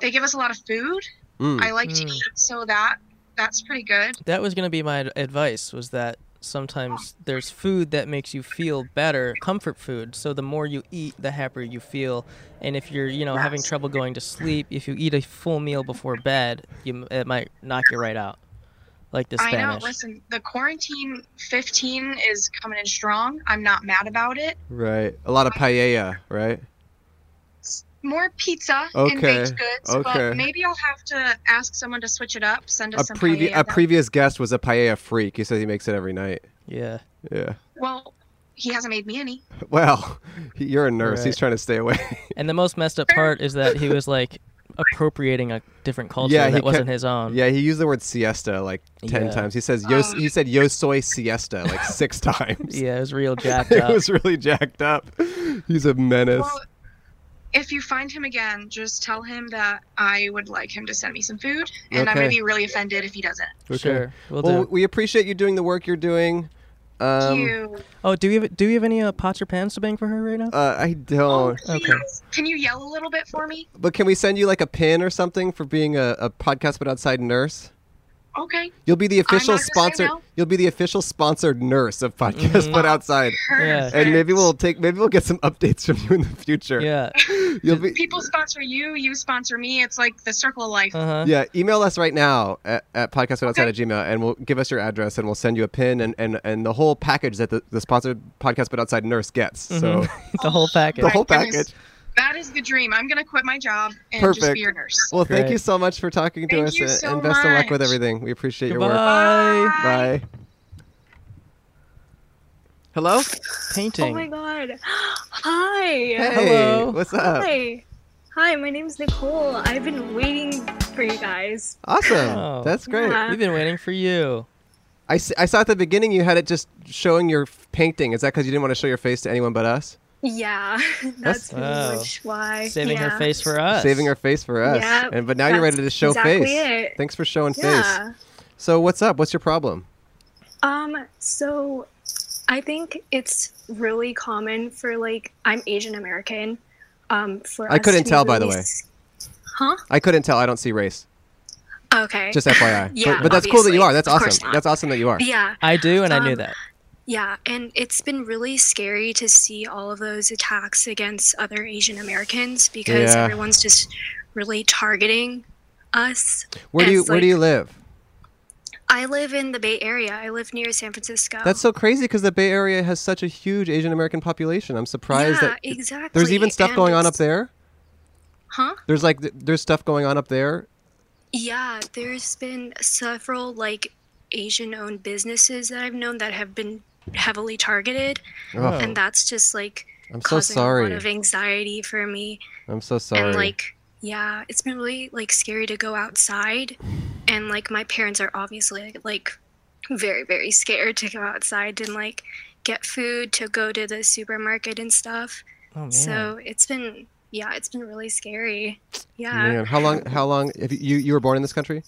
Speaker 6: They give us a lot of food.
Speaker 2: Mm.
Speaker 6: I like to
Speaker 1: Mm.
Speaker 6: eat, so that that's pretty good.
Speaker 1: That was going to be my ad- advice was that sometimes there's food that makes you feel better, comfort food. So the more you eat, the happier you feel. And if you're, you know, having
Speaker 6: Yes.
Speaker 1: trouble going to sleep, if you eat a full meal before bed, you m- it might knock you right out. Like the Spanish.
Speaker 6: I know. Listen, the quarantine 15 is coming in strong. I'm not mad about it.
Speaker 2: Right. A lot of paella. Right.
Speaker 6: More pizza
Speaker 2: Okay,
Speaker 6: and baked goods,
Speaker 2: okay.
Speaker 6: but maybe I'll have to ask someone to switch it up. Send
Speaker 2: A
Speaker 6: us some
Speaker 2: previ-
Speaker 6: paella.
Speaker 2: a previous guest was a paella freak. He says he makes it every night.
Speaker 1: yeah.
Speaker 2: Yeah.
Speaker 6: well, he hasn't made me any.
Speaker 2: Well, <laughs> you're a nurse.
Speaker 1: Right.
Speaker 2: He's trying to stay away. <laughs>
Speaker 1: And the most messed up part is that he was like appropriating a different culture
Speaker 2: Yeah, he
Speaker 1: that wasn't
Speaker 2: kept-
Speaker 1: his own.
Speaker 2: yeah, he used the word siesta like ten
Speaker 1: Yeah.
Speaker 2: times. He says yo.
Speaker 6: Oh.
Speaker 2: He said yo soy siesta
Speaker 1: <laughs>
Speaker 2: like six times.
Speaker 1: Yeah, it was
Speaker 2: <laughs>
Speaker 1: real jacked
Speaker 2: It
Speaker 1: up.
Speaker 2: was really jacked up. <laughs> He's a menace.
Speaker 6: Well, if you find him again, just tell him that I would like him to send me some food, and I'm
Speaker 2: Okay.
Speaker 6: gonna be really offended if he doesn't.
Speaker 2: Okay.
Speaker 1: Sure, we'll,
Speaker 2: Well,
Speaker 1: do.
Speaker 2: we appreciate you doing the work you're doing. Um,
Speaker 6: you.
Speaker 1: Oh, do we have do we have any uh, pots or pans to bang for her right now?
Speaker 2: uh, I
Speaker 6: Oh,
Speaker 2: don't.
Speaker 1: okay.
Speaker 6: please, Can you yell a little bit for me?
Speaker 2: But can we send you like a pin or something for being a, a podcast but outside nurse?
Speaker 6: Okay.
Speaker 2: You'll be the official
Speaker 6: not gonna say
Speaker 2: sponsor.
Speaker 6: no.
Speaker 2: You'll be the official sponsored nurse of podcast
Speaker 1: Mhm.
Speaker 2: but outside.
Speaker 1: Yeah.
Speaker 6: <laughs>
Speaker 2: And maybe
Speaker 6: Perfect.
Speaker 2: we'll take maybe we'll get some updates from you in the future.
Speaker 1: Yeah.
Speaker 2: You'll be
Speaker 6: people sponsor you, you sponsor me. It's like the circle of life.
Speaker 1: Uh huh.
Speaker 2: <laughs> yeah, email us right now at, at podcast but outside at Gmail and we'll give us your address and we'll send you a pin and, and, and the whole package that the, the sponsored podcast but outside nurse gets. So
Speaker 1: the whole package.
Speaker 2: the whole
Speaker 6: My goodness.
Speaker 2: package.
Speaker 6: That is the dream. I'm gonna quit my job and just
Speaker 2: Perfect.
Speaker 6: be your nurse.
Speaker 2: Well, thank
Speaker 1: Great.
Speaker 2: you so much for <laughs> talking to
Speaker 6: Thank
Speaker 2: us
Speaker 6: you
Speaker 2: and,
Speaker 6: so
Speaker 2: and best of luck with
Speaker 6: much.
Speaker 2: everything. We appreciate your work.
Speaker 1: Goodbye.
Speaker 2: Bye. Hello?
Speaker 1: Painting.
Speaker 7: Oh my god. Hi.
Speaker 2: Hey,
Speaker 1: Hello.
Speaker 2: what's up?
Speaker 7: Hi. Hi, my name's Nicole. I've been waiting for you guys.
Speaker 2: Awesome.
Speaker 1: Oh.
Speaker 2: That's great.
Speaker 7: Yeah.
Speaker 1: We've been waiting for you.
Speaker 2: I, s- I saw at the beginning you had it just showing your f- painting. Is that because you didn't want to show your face to anyone but us?
Speaker 7: Yeah, <laughs> that's pretty
Speaker 1: Wow.
Speaker 7: much why.
Speaker 1: Saving
Speaker 7: yeah.
Speaker 1: her face for us.
Speaker 2: Saving her face for us.
Speaker 7: Yep,
Speaker 2: and But now you're
Speaker 7: that's
Speaker 2: ready to show
Speaker 7: exactly
Speaker 2: face.
Speaker 7: it.
Speaker 2: Thanks for showing face.
Speaker 7: Yeah.
Speaker 2: So, what's up? What's your problem?
Speaker 7: Um, so I think it's really common for like I'm Asian American. Um, for
Speaker 2: I
Speaker 7: us
Speaker 2: couldn't
Speaker 7: to be
Speaker 2: tell, by the
Speaker 7: really
Speaker 2: way.
Speaker 7: s- Huh?
Speaker 2: I couldn't tell. I don't see race.
Speaker 7: Okay.
Speaker 2: Just
Speaker 7: <laughs>
Speaker 2: FYI.
Speaker 7: Yeah,
Speaker 2: but, but that's cool that you
Speaker 7: obviously.
Speaker 2: are. That's
Speaker 7: Of course
Speaker 2: awesome.
Speaker 7: not.
Speaker 2: That's awesome that you are.
Speaker 7: yeah.
Speaker 1: I do, and I knew
Speaker 7: Um,
Speaker 1: that.
Speaker 7: Yeah, and it's been really scary to see all of those attacks against other Asian Americans because
Speaker 2: Yeah.
Speaker 7: everyone's just really targeting us.
Speaker 2: Where do you
Speaker 7: it's
Speaker 2: Where do
Speaker 7: like-
Speaker 2: you live?
Speaker 7: I live in the Bay Area. I live near San Francisco.
Speaker 2: That's so crazy because the Bay Area has such a huge Asian American population. I'm surprised
Speaker 7: yeah,
Speaker 2: that
Speaker 7: exactly.
Speaker 2: there's even stuff
Speaker 7: and
Speaker 2: going on up
Speaker 7: it's-
Speaker 2: there.
Speaker 7: Huh?
Speaker 2: There's like th- there's stuff going on up there.
Speaker 7: Yeah, there's been several like Asian-owned businesses that I've known that have been heavily targeted,
Speaker 2: Ugh,
Speaker 7: and that's just like
Speaker 2: Oh. I'm so
Speaker 7: causing a lot
Speaker 2: sorry.
Speaker 7: of anxiety for me.
Speaker 2: I'm so sorry.
Speaker 7: And like, yeah, it's been really like scary to go outside, and like my parents are obviously like very very scared to go outside and like get food to go to the supermarket and stuff.
Speaker 1: Oh man.
Speaker 7: So it's been yeah, it's been really scary. Yeah,
Speaker 2: Man, how long? How long? Have you, you you were born in this country?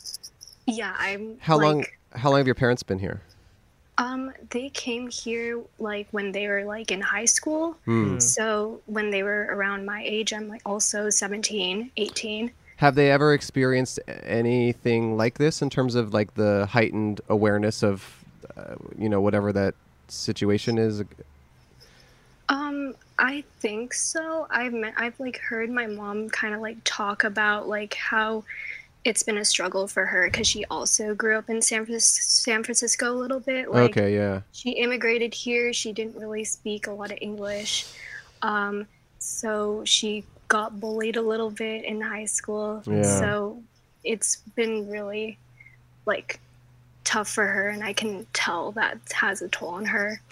Speaker 7: yeah, I'm
Speaker 2: How long?
Speaker 7: like,
Speaker 2: How long have your parents been here?
Speaker 7: Um, they came here like when they were like in high school.
Speaker 2: Hmm.
Speaker 7: So when they were around my age, I'm like also 17, 18.
Speaker 2: Have they ever experienced anything like this in terms of like the heightened awareness of, uh, you know, whatever that situation is?
Speaker 7: Um, I think so. I've met, I've like heard my mom kind of like talk about like how it's been a struggle for her because she also grew up in San, Fran- San Francisco a little bit. Like,
Speaker 2: okay, yeah.
Speaker 7: she immigrated here. She didn't really speak a lot of English. Um, so she got bullied a little bit in high school.
Speaker 2: Yeah.
Speaker 7: So it's been really like tough for her and I can tell that has a toll on her.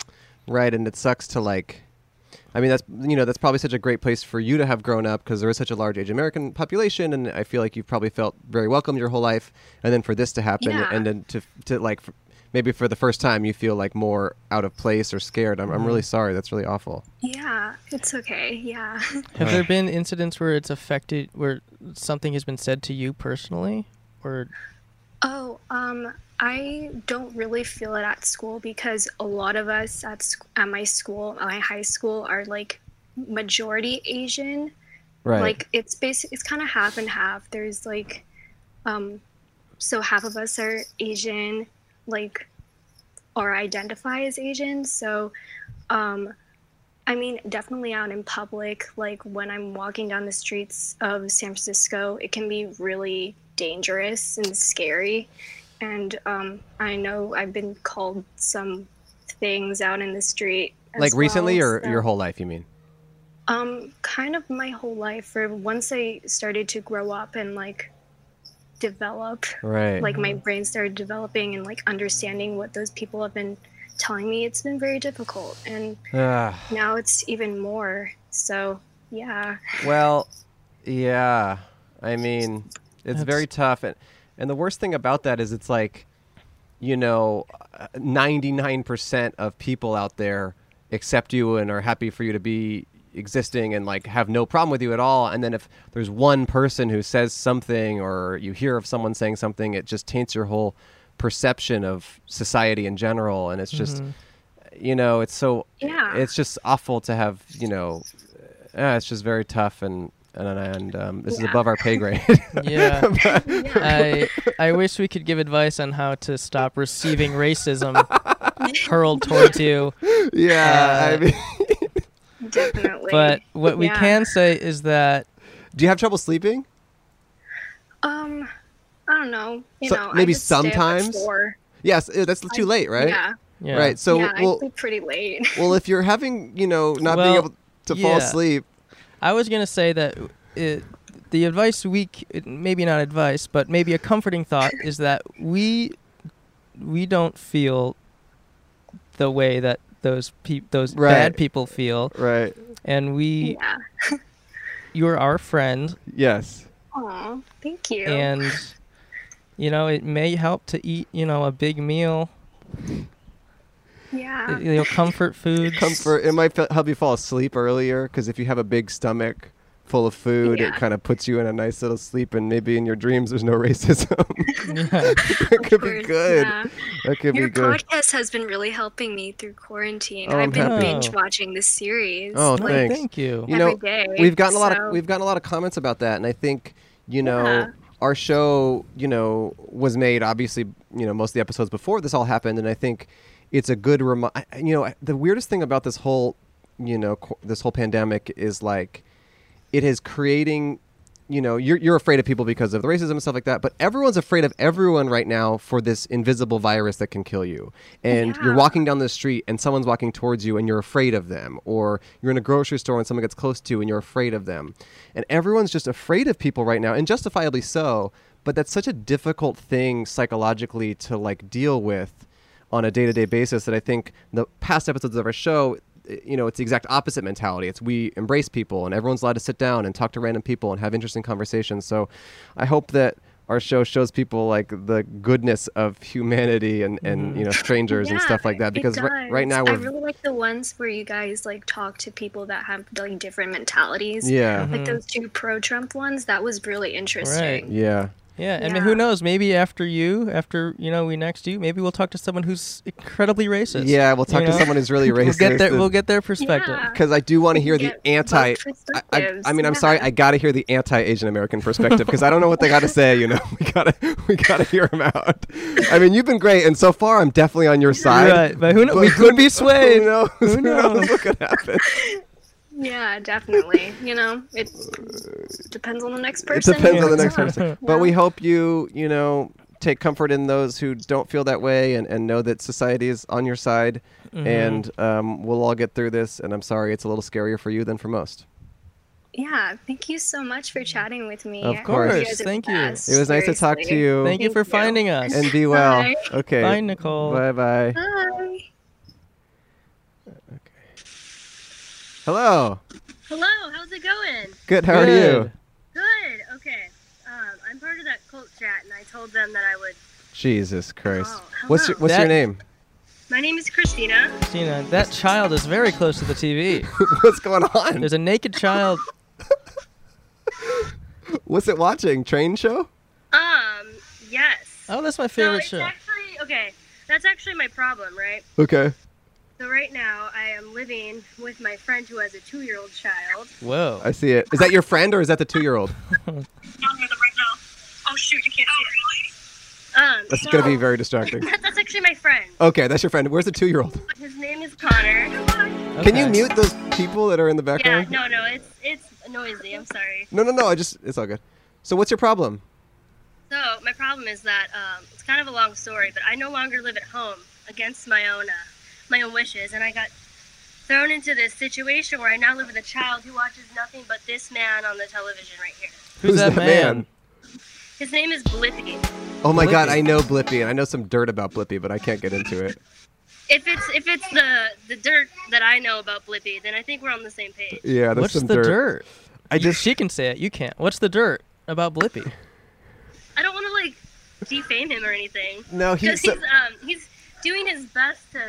Speaker 2: Right, and it sucks to like. I mean, that's you know that's probably such a great place for you to have grown up because there is such a large Asian American population, and I feel like you've probably felt very welcome your whole life, and then for this to happen,
Speaker 7: Yeah.
Speaker 2: and then to to like f- maybe for the first time you feel like more out of place or scared. I'm, I'm really sorry. That's really awful.
Speaker 7: Yeah, it's okay. Yeah.
Speaker 1: Have there been incidents where it's affected, where something has been said to you personally, or
Speaker 7: Oh, um, I don't really feel it at school because a lot of us at, sc- at my school, at my high school, are like majority Asian.
Speaker 2: Right.
Speaker 7: Like it's basic. It's kind of half and half. There's like, um, so half of us are Asian, like, or identify as Asian. So, um, I mean, definitely out in public, like when I'm walking down the streets of San Francisco, it can be really dangerous and scary. And um, I know I've been called some things out in the street. as
Speaker 2: like recently
Speaker 7: well,
Speaker 2: or
Speaker 7: so-
Speaker 2: your whole life? You mean?
Speaker 7: um, kind of my whole life. For once I started to grow up and like develop,
Speaker 2: Right.
Speaker 7: like my brain started developing and like understanding what those people have been telling me. It's been very difficult, and
Speaker 2: Ah,
Speaker 7: now it's even more. So
Speaker 2: <laughs>
Speaker 7: yeah,
Speaker 2: well, yeah. I mean, it's
Speaker 1: That's-
Speaker 2: very tough, and and the worst thing about that is it's like, you know, ninety nine percent of people out there accept you and are happy for you to be existing and like have no problem with you at all. And then if there's one person who says something or you hear of someone saying something, it just taints your whole perception of society in general, and it's just. you know it's so
Speaker 7: Yeah.
Speaker 2: it's just awful to have you know uh, it's just very tough and and and um, this is
Speaker 7: Yeah.
Speaker 2: above our pay grade <laughs>
Speaker 1: yeah.
Speaker 7: <laughs> yeah,
Speaker 1: I I wish we could give advice on how to stop receiving racism hurled towards you.
Speaker 2: yeah I
Speaker 1: Uh,
Speaker 2: mean,
Speaker 7: definitely.
Speaker 1: But what we
Speaker 7: Yeah.
Speaker 1: can say is that
Speaker 2: do you have trouble sleeping
Speaker 7: um, I don't know. You
Speaker 2: So-
Speaker 7: know, I
Speaker 2: maybe
Speaker 7: just stay up at
Speaker 2: sometimes?
Speaker 7: four.
Speaker 2: yes eh, that's too late right
Speaker 7: Yeah.
Speaker 1: yeah,
Speaker 2: right so
Speaker 7: yeah, I
Speaker 2: well
Speaker 7: sleep pretty late.
Speaker 2: well if you're having you know not being
Speaker 1: Well,
Speaker 2: able to fall
Speaker 1: yeah.
Speaker 2: asleep
Speaker 1: I was gonna say that it, the advice we c- it- maybe not advice, but maybe a comforting thought is that we we don't feel the way that those peop those
Speaker 2: Right.
Speaker 1: bad people feel,
Speaker 2: right
Speaker 1: and we
Speaker 7: yeah. <laughs>
Speaker 1: you're our friend,
Speaker 2: yes
Speaker 7: <laughs> Aw, thank you.
Speaker 1: and you know it may help to eat you know a big meal,
Speaker 7: yeah.
Speaker 1: y- you know comfort foods,
Speaker 2: comfort it might fe- help you fall asleep earlier because if you have a big stomach full of food it
Speaker 7: Yeah.
Speaker 2: kind of puts you in a nice little sleep and maybe in your dreams there's no <laughs>
Speaker 7: <laughs>
Speaker 2: racism
Speaker 1: Yeah.
Speaker 2: that could be
Speaker 7: Or-
Speaker 2: good
Speaker 7: yeah.
Speaker 2: that could
Speaker 7: Your
Speaker 2: be good
Speaker 7: podcast has been really helping me through quarantine.
Speaker 2: Oh, I'm
Speaker 7: I've been
Speaker 1: happy.
Speaker 7: binge watching this series.
Speaker 2: Oh,
Speaker 1: Oh,
Speaker 7: like,
Speaker 2: thanks.
Speaker 1: Thank you.
Speaker 2: You know,
Speaker 7: every day,
Speaker 2: we've gotten a lot
Speaker 7: so-
Speaker 2: of we've gotten a lot of comments about that, and I think you know
Speaker 7: Yeah.
Speaker 2: our show you know was made obviously you know most of the episodes before this all happened, and I think it's a good remind. You know, I- the weirdest thing about this whole you know qu- this whole pandemic is like it is creating you know you're, you're afraid of people because of the racism and stuff like that but everyone's afraid of everyone right now for this invisible virus that can kill you and you're
Speaker 7: Yeah.
Speaker 2: walking down the street and someone's walking towards you and you're afraid of them or you're in a grocery store and someone gets close to you and you're afraid of them and everyone's just afraid of people right now and justifiably so but that's such a difficult thing psychologically to like deal with on a day-to-day basis that I think the past episodes of our show i- you know it's the exact opposite mentality it's we embrace people and everyone's allowed to sit down and talk to random people and have interesting conversations so I hope that our show shows people like the goodness of humanity and, and you know strangers and
Speaker 7: Yeah,
Speaker 2: stuff like that
Speaker 7: it
Speaker 2: because ri- right
Speaker 7: does.
Speaker 2: now
Speaker 7: I
Speaker 2: we're
Speaker 7: really like the ones where you guys like talk to people that have like different mentalities.
Speaker 2: yeah
Speaker 7: Like those two pro Trump ones, that was really interesting.
Speaker 1: Mm-hmm. Right.
Speaker 2: yeah
Speaker 1: Yeah, and who
Speaker 7: Yeah.
Speaker 1: knows? Maybe after you, after you know, we next you, maybe we'll talk to someone who's incredibly racist.
Speaker 2: Yeah, we'll talk
Speaker 1: you
Speaker 2: to
Speaker 1: know?
Speaker 2: someone who's really racist.
Speaker 1: <laughs> We'll get their we'll get their perspective.
Speaker 7: Yeah.
Speaker 2: because I do want to hear the
Speaker 7: Get both
Speaker 2: anti. I, I,
Speaker 7: perspectives,
Speaker 2: I mean, I'm
Speaker 7: yeah.
Speaker 2: sorry. I gotta hear the anti-Asian American perspective because I don't know what they gotta say. You know, <laughs> we gotta we gotta hear them out. I mean, you've been great, and so far I'm definitely on your side.
Speaker 1: Right, but who kno- we could be
Speaker 2: <laughs>
Speaker 1: swayed.
Speaker 2: Who knows?
Speaker 1: Who knows?
Speaker 2: what could happen?
Speaker 7: Yeah, definitely. you know, it depends on the next
Speaker 2: It
Speaker 7: person.
Speaker 2: depends on the
Speaker 7: Yeah.
Speaker 2: next
Speaker 1: <laughs>
Speaker 2: person. But we hope you, you know, take comfort in those who don't feel that way, and, and know that society is on your side,
Speaker 1: Mm-hmm.
Speaker 2: and um, we'll all get through this. And I'm sorry, it's a little scarier for you than for most.
Speaker 7: Yeah, thank you so much for chatting with me.
Speaker 2: Of
Speaker 7: I hope
Speaker 2: course.
Speaker 7: guys are
Speaker 1: Thank
Speaker 7: the
Speaker 1: you.
Speaker 7: best,
Speaker 2: It was nice to talk to
Speaker 7: seriously.
Speaker 2: you.
Speaker 1: Thank you for
Speaker 7: Thank you.
Speaker 8: <laughs>
Speaker 1: finding us.
Speaker 2: and be well.
Speaker 7: Bye.
Speaker 2: Okay.
Speaker 1: Bye, Nicole.
Speaker 2: Bye bye.
Speaker 7: Bye.
Speaker 2: Hello.
Speaker 8: Hello, how's it going?
Speaker 2: Good. How are you?
Speaker 1: Good.
Speaker 8: Good. Okay. Um, I'm part of that cult chat, and I told them that I would.
Speaker 2: Jesus Christ.
Speaker 8: Oh,
Speaker 2: what's your,
Speaker 8: hello.
Speaker 2: what's
Speaker 1: That-
Speaker 2: your name?
Speaker 8: My name is Christina.
Speaker 1: Christina, that child is very close to the TV.
Speaker 2: <laughs> what's going on?
Speaker 1: There's a naked child.
Speaker 2: What's it watching? Train show?
Speaker 8: Um, yes.
Speaker 1: Oh, that's
Speaker 8: so
Speaker 1: my favorite
Speaker 8: it's
Speaker 1: show.
Speaker 8: actually okay. That's actually my problem, right?
Speaker 2: Okay.
Speaker 8: So right now, I am living with my friend who has a two-year-old child.
Speaker 1: Whoa.
Speaker 2: I see it. Is that your friend or is that the
Speaker 1: <laughs>
Speaker 2: two-year-old?
Speaker 8: Oh shoot, you can't see it. Um,
Speaker 2: That's
Speaker 8: so-
Speaker 2: gonna be very distracting.
Speaker 8: <laughs> That's actually my friend.
Speaker 2: Okay, that's your friend. Where's the two-year-old?
Speaker 8: His name is Connor.
Speaker 2: Can you
Speaker 1: Okay.
Speaker 2: mute those people that are in the
Speaker 8: Yeah.
Speaker 2: background?
Speaker 8: No, no, it's it's noisy. I'm sorry.
Speaker 2: no. no, no, I just it's all good. So what's your problem?
Speaker 8: So my problem is that um, it's kind of a long story, but I no longer live at home against my own uh, my own wishes, and I got thrown into this situation where I now live with a child who watches nothing but this man on the television right here.
Speaker 1: Who's, that, man?
Speaker 8: His name is Blippi.
Speaker 2: Oh my god,
Speaker 1: Blippi.
Speaker 2: I know Blippi and I know some dirt about Blippi, but I can't get into it.
Speaker 8: If it's if it's the the dirt that I know about Blippi, then I think we're on the same page.
Speaker 2: Yeah, that's
Speaker 1: What's
Speaker 2: some
Speaker 1: the dirt?
Speaker 2: I
Speaker 1: You-
Speaker 2: just
Speaker 1: she can say it. You can't. What's the dirt about Blippi?
Speaker 7: <laughs>
Speaker 8: I don't want to like defame him or anything.
Speaker 2: no,
Speaker 8: Because
Speaker 2: he's
Speaker 8: he's
Speaker 2: so,
Speaker 8: um he's doing his best to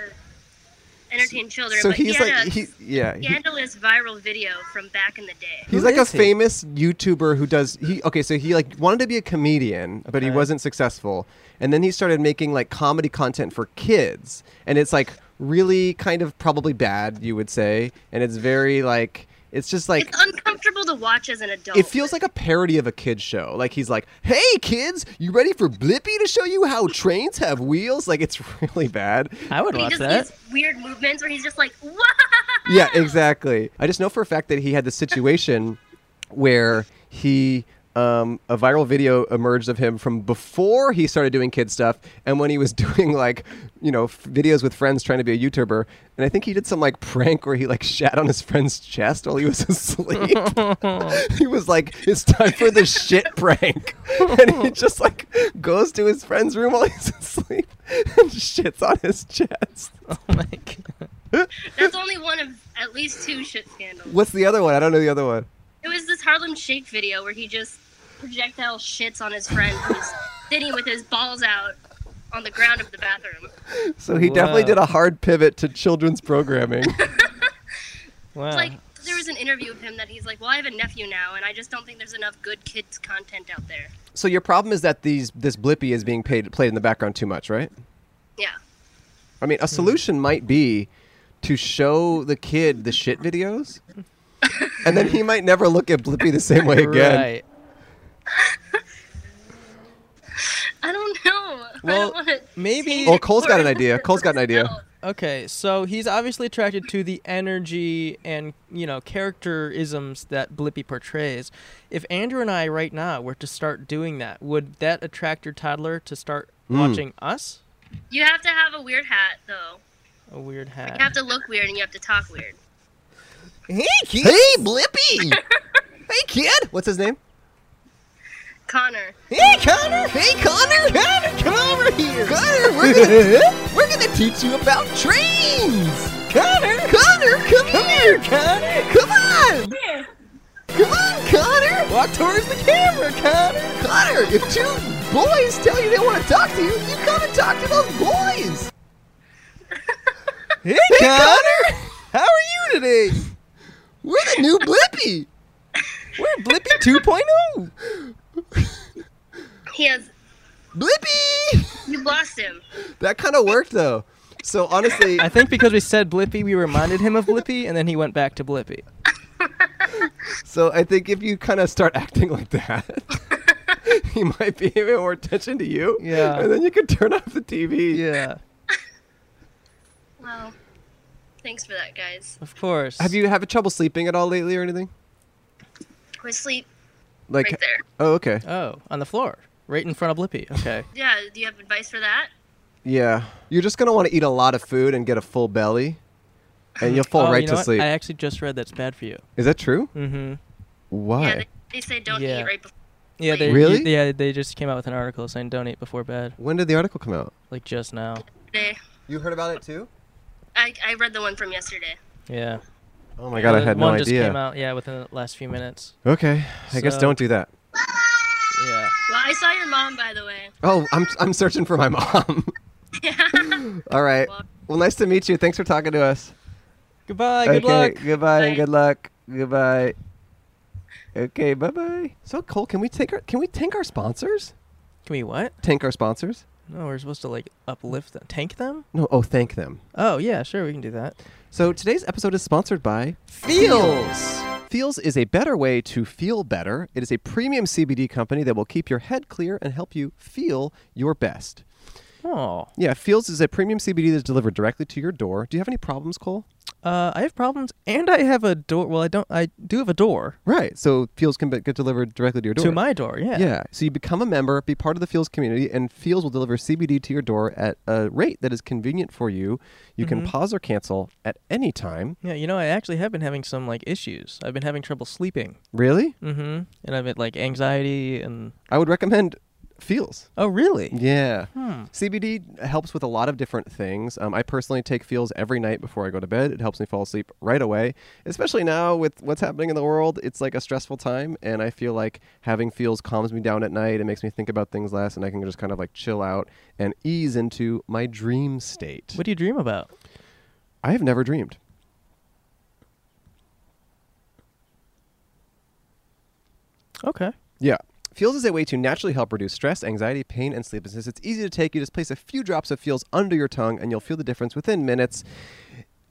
Speaker 8: entertain children.
Speaker 2: so
Speaker 8: but he
Speaker 2: he's
Speaker 8: had
Speaker 2: like
Speaker 8: a
Speaker 2: he yeah. he-
Speaker 8: scandalous viral video from back in the day.
Speaker 2: He's
Speaker 1: Who
Speaker 2: like a
Speaker 1: is he?
Speaker 2: famous YouTuber who does he okay, so he like wanted to be a comedian, but he
Speaker 1: Okay.
Speaker 2: wasn't successful. And then he started making like comedy content for kids. And it's like really kind of probably bad, you would say. And it's very like it's just like
Speaker 8: it's uncomfortable to watch as an adult.
Speaker 2: it feels like a parody of a kid's show. Like he's like, "Hey kids, you ready for Blippi to show you how trains have wheels?" Like it's <laughs> really bad.
Speaker 1: I would
Speaker 8: he
Speaker 1: watch
Speaker 8: just
Speaker 1: that.
Speaker 8: these weird movements where he's just like, <laughs> "Whoa!"
Speaker 2: yeah, exactly. I just know for a fact that he had this situation where he um, a viral video emerged of him from before he started doing kid stuff, and when he was <laughs> doing like you know f- videos with friends trying to be a YouTuber, and I think he did some like prank where he like shat on his friend's chest while he was <laughs> asleep. he was like, "It's time for the shit prank," <laughs> and he just like goes to his friend's room while he's <laughs> asleep and shits on his chest.
Speaker 1: Oh my god.
Speaker 8: That's only one of at least two shit scandals.
Speaker 2: What's the other one? I don't know the other one.
Speaker 8: It was this Harlem Shake video where he just projectile shits on his friend
Speaker 2: <laughs>
Speaker 8: who's sitting with his balls out on the ground of the bathroom.
Speaker 2: So he definitely
Speaker 1: Wow.
Speaker 2: did a hard pivot to
Speaker 8: <laughs>
Speaker 2: children's programming.
Speaker 1: Wow.
Speaker 2: Uh.
Speaker 8: It's like there was an interview of him that he's like, "Well, I have a nephew now, and I just don't think there's enough good kids content out there."
Speaker 2: so your problem is that these this Blippi is being paid, played in the background too much, right?
Speaker 8: Yeah.
Speaker 2: I
Speaker 1: Hmm.
Speaker 2: mean, a solution might be to show the kid the shit videos, and then he might never look at Blippi the same way again.
Speaker 1: Right.
Speaker 8: I don't know. I
Speaker 1: Well,
Speaker 8: don't wanna
Speaker 1: maybe-
Speaker 8: say
Speaker 2: Oh, Cole's got an
Speaker 8: or-
Speaker 2: idea. Cole's got
Speaker 8: <laughs>
Speaker 2: an idea.
Speaker 1: Okay, so he's obviously attracted to the energy and, you know, characterisms that Blippi portrays. If Andrew and I right now were to start doing that, would that attract your toddler to start
Speaker 2: Hmm.
Speaker 1: watching us?
Speaker 8: You have to have a weird hat, though.
Speaker 1: A weird hat.
Speaker 8: You have to look weird and you have to talk weird.
Speaker 2: Hey, kid. Hey, Blippi. hey, kid. What's his name?
Speaker 8: Connor.
Speaker 2: Hey, Connor. Hey, Connor. Connor, come over here. Connor, we're <laughs> gonna, we're gonna teach you about trains. Connor, Connor, come, here. Connor. Come on. Come on, Connor. Walk towards the camera, Connor. Connor, if two boys tell you they want to talk to you, you come and talk to those boys. hey, Connor. How are you today? We're the new oh? Blippi. We're Blippi 2.0.
Speaker 8: He has.
Speaker 2: Blippy!
Speaker 8: You lost him.
Speaker 2: That kind of worked though. So honestly,
Speaker 1: I think because we said Blippy, we reminded him of Blippy, and then he went back to Blippy.
Speaker 2: so I think if you kind of start acting like that, <laughs> he might be paying more attention to you.
Speaker 1: Yeah.
Speaker 2: And then you could turn off the TV.
Speaker 1: Yeah,
Speaker 8: Wow. Thanks for that, guys.
Speaker 1: of course.
Speaker 2: Have you have trouble sleeping at all lately or anything?
Speaker 8: My sleep
Speaker 2: Like
Speaker 8: right there.
Speaker 2: oh okay
Speaker 1: Oh, on the floor, right in front of Blippy. Okay.
Speaker 8: Yeah. Do you have advice for that?
Speaker 2: <laughs> yeah you're just gonna want to eat a lot of food and get a full belly, and you'll fall
Speaker 1: Oh, you
Speaker 2: right
Speaker 1: know
Speaker 2: to
Speaker 1: what?
Speaker 2: sleep.
Speaker 1: I actually just read that's bad for you.
Speaker 2: Is that true?
Speaker 1: Mm-hmm.
Speaker 2: Why?
Speaker 8: Yeah. They, they say don't
Speaker 1: Yeah.
Speaker 8: eat right before.
Speaker 1: Yeah, they
Speaker 2: Really?
Speaker 1: yeah, they just came out with an article saying don't eat before bed,
Speaker 2: when did the article come out?
Speaker 1: like just now.
Speaker 8: Day.
Speaker 2: You heard about it too?
Speaker 8: I I read the one from yesterday.
Speaker 1: Yeah.
Speaker 2: Oh my god, I
Speaker 1: The
Speaker 2: had no
Speaker 1: one just
Speaker 2: idea.
Speaker 1: came out, yeah, within the last few minutes.
Speaker 2: Okay, I guess
Speaker 1: So-
Speaker 2: don't do that.
Speaker 1: Yeah.
Speaker 8: Well, I saw your mom, by the
Speaker 2: <laughs>
Speaker 8: way. <laughs>
Speaker 2: Oh, I'm I'm searching for my mom. <laughs> All right. Well, nice to meet you. Thanks for talking to us.
Speaker 1: Goodbye. Good luck.
Speaker 2: Goodbye and
Speaker 8: Bye.
Speaker 2: good luck. Goodbye. Okay, bye bye. So Cole, can we take our can we tank our sponsors?
Speaker 1: Can we what?
Speaker 2: Tank our sponsors?
Speaker 1: No, we're supposed to like uplift them, tank them.
Speaker 2: No, oh thank them.
Speaker 1: Oh yeah, sure, we can do that.
Speaker 2: So today's episode is sponsored by
Speaker 1: Feels.
Speaker 2: Feels is a better way to feel better. It is a premium CBD company that will keep your head clear and help you feel your best.
Speaker 1: Oh.
Speaker 2: Yeah, Feels is a premium CBD that's delivered directly to your door. Do you have any problems, Cole?
Speaker 1: Uh, I have problems, and I have a door. Well, I don't. I do have a door
Speaker 2: Right. So Feels can be- get delivered directly to your door.
Speaker 1: to my door. Yeah.
Speaker 2: Yeah. So you become a member, be part of the Fields community, and Fields will deliver CBD to your door at a rate that is convenient for you. You can pause or cancel at any time.
Speaker 1: Yeah, You know, I actually have been having some like issues. I've been having trouble sleeping.
Speaker 2: Really?
Speaker 1: Mm-hmm. And I've had like anxiety and.
Speaker 2: I would recommend Fields.
Speaker 1: Oh really? Hmm.
Speaker 2: Yeah. CBD helps with a lot of different things. Um, I personally take Fields every night before I go to bed. It helps me fall asleep right away, especially now with what's happening in the world. It's like a stressful time, and I feel like having Fields calms me down at night. It makes me think about things less, and I can just kind of like chill out and ease into my dream state.
Speaker 1: What do you dream about?
Speaker 2: I have never dreamed.
Speaker 1: Okay.
Speaker 2: Yeah. Feels is a way to naturally help reduce stress, anxiety, pain, and sleeplessness. It's easy to take. You just place a few drops of Feels under your tongue, and you'll feel the difference within minutes.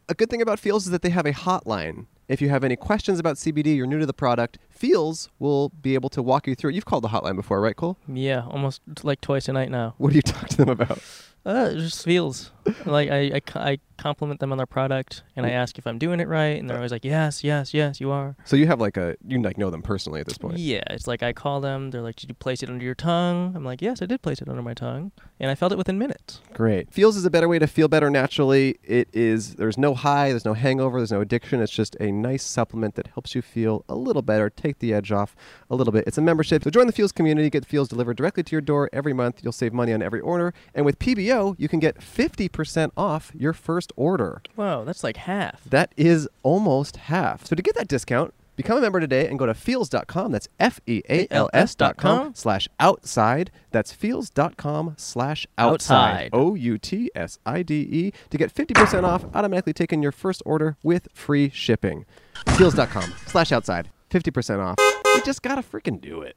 Speaker 2: A good thing about Feels is that they have a hotline. If you have any questions about CBD, you're new to the product, Feels will be able to walk you through it. You've called the hotline before, right, Cole?
Speaker 1: Yeah, almost like twice a night now.
Speaker 2: What do you talk to them about?
Speaker 1: Uh, it just feels like I, I c- I compliment them on their product and I
Speaker 2: Mm.
Speaker 1: ask if I'm doing it right,
Speaker 2: Uh.
Speaker 1: and they're always like, yes, yes, yes, you are.
Speaker 2: So you have like a you like know them personally at this point.
Speaker 1: Yeah, it's like I call them. They're like, "Did you place it under your tongue?" I'm like, "Yes, I did place it under my tongue," and I felt it within minutes.
Speaker 2: Great. Feels is a better way to feel better naturally. It is, there's no high, there's no hangover, there's no addiction. It's just a nice supplement that helps you feel a little better, take the edge off a little bit. It's a membership. So join the Feels community, get Feels delivered directly to your door every month. You'll save money on every order. And with PBO, you can get 50% off your first order.
Speaker 1: Whoa, that's like half.
Speaker 2: That is almost half. So to get that discount, become a member today and go to feels.com. That's F E A L S dot com slash outside. That's feels.com slash outside.
Speaker 1: Outside.
Speaker 2: O U T S I D E to get 50% off, automatically taking your first order with free shipping. Feels.com slash outside. 50% off. You just gotta freaking do it.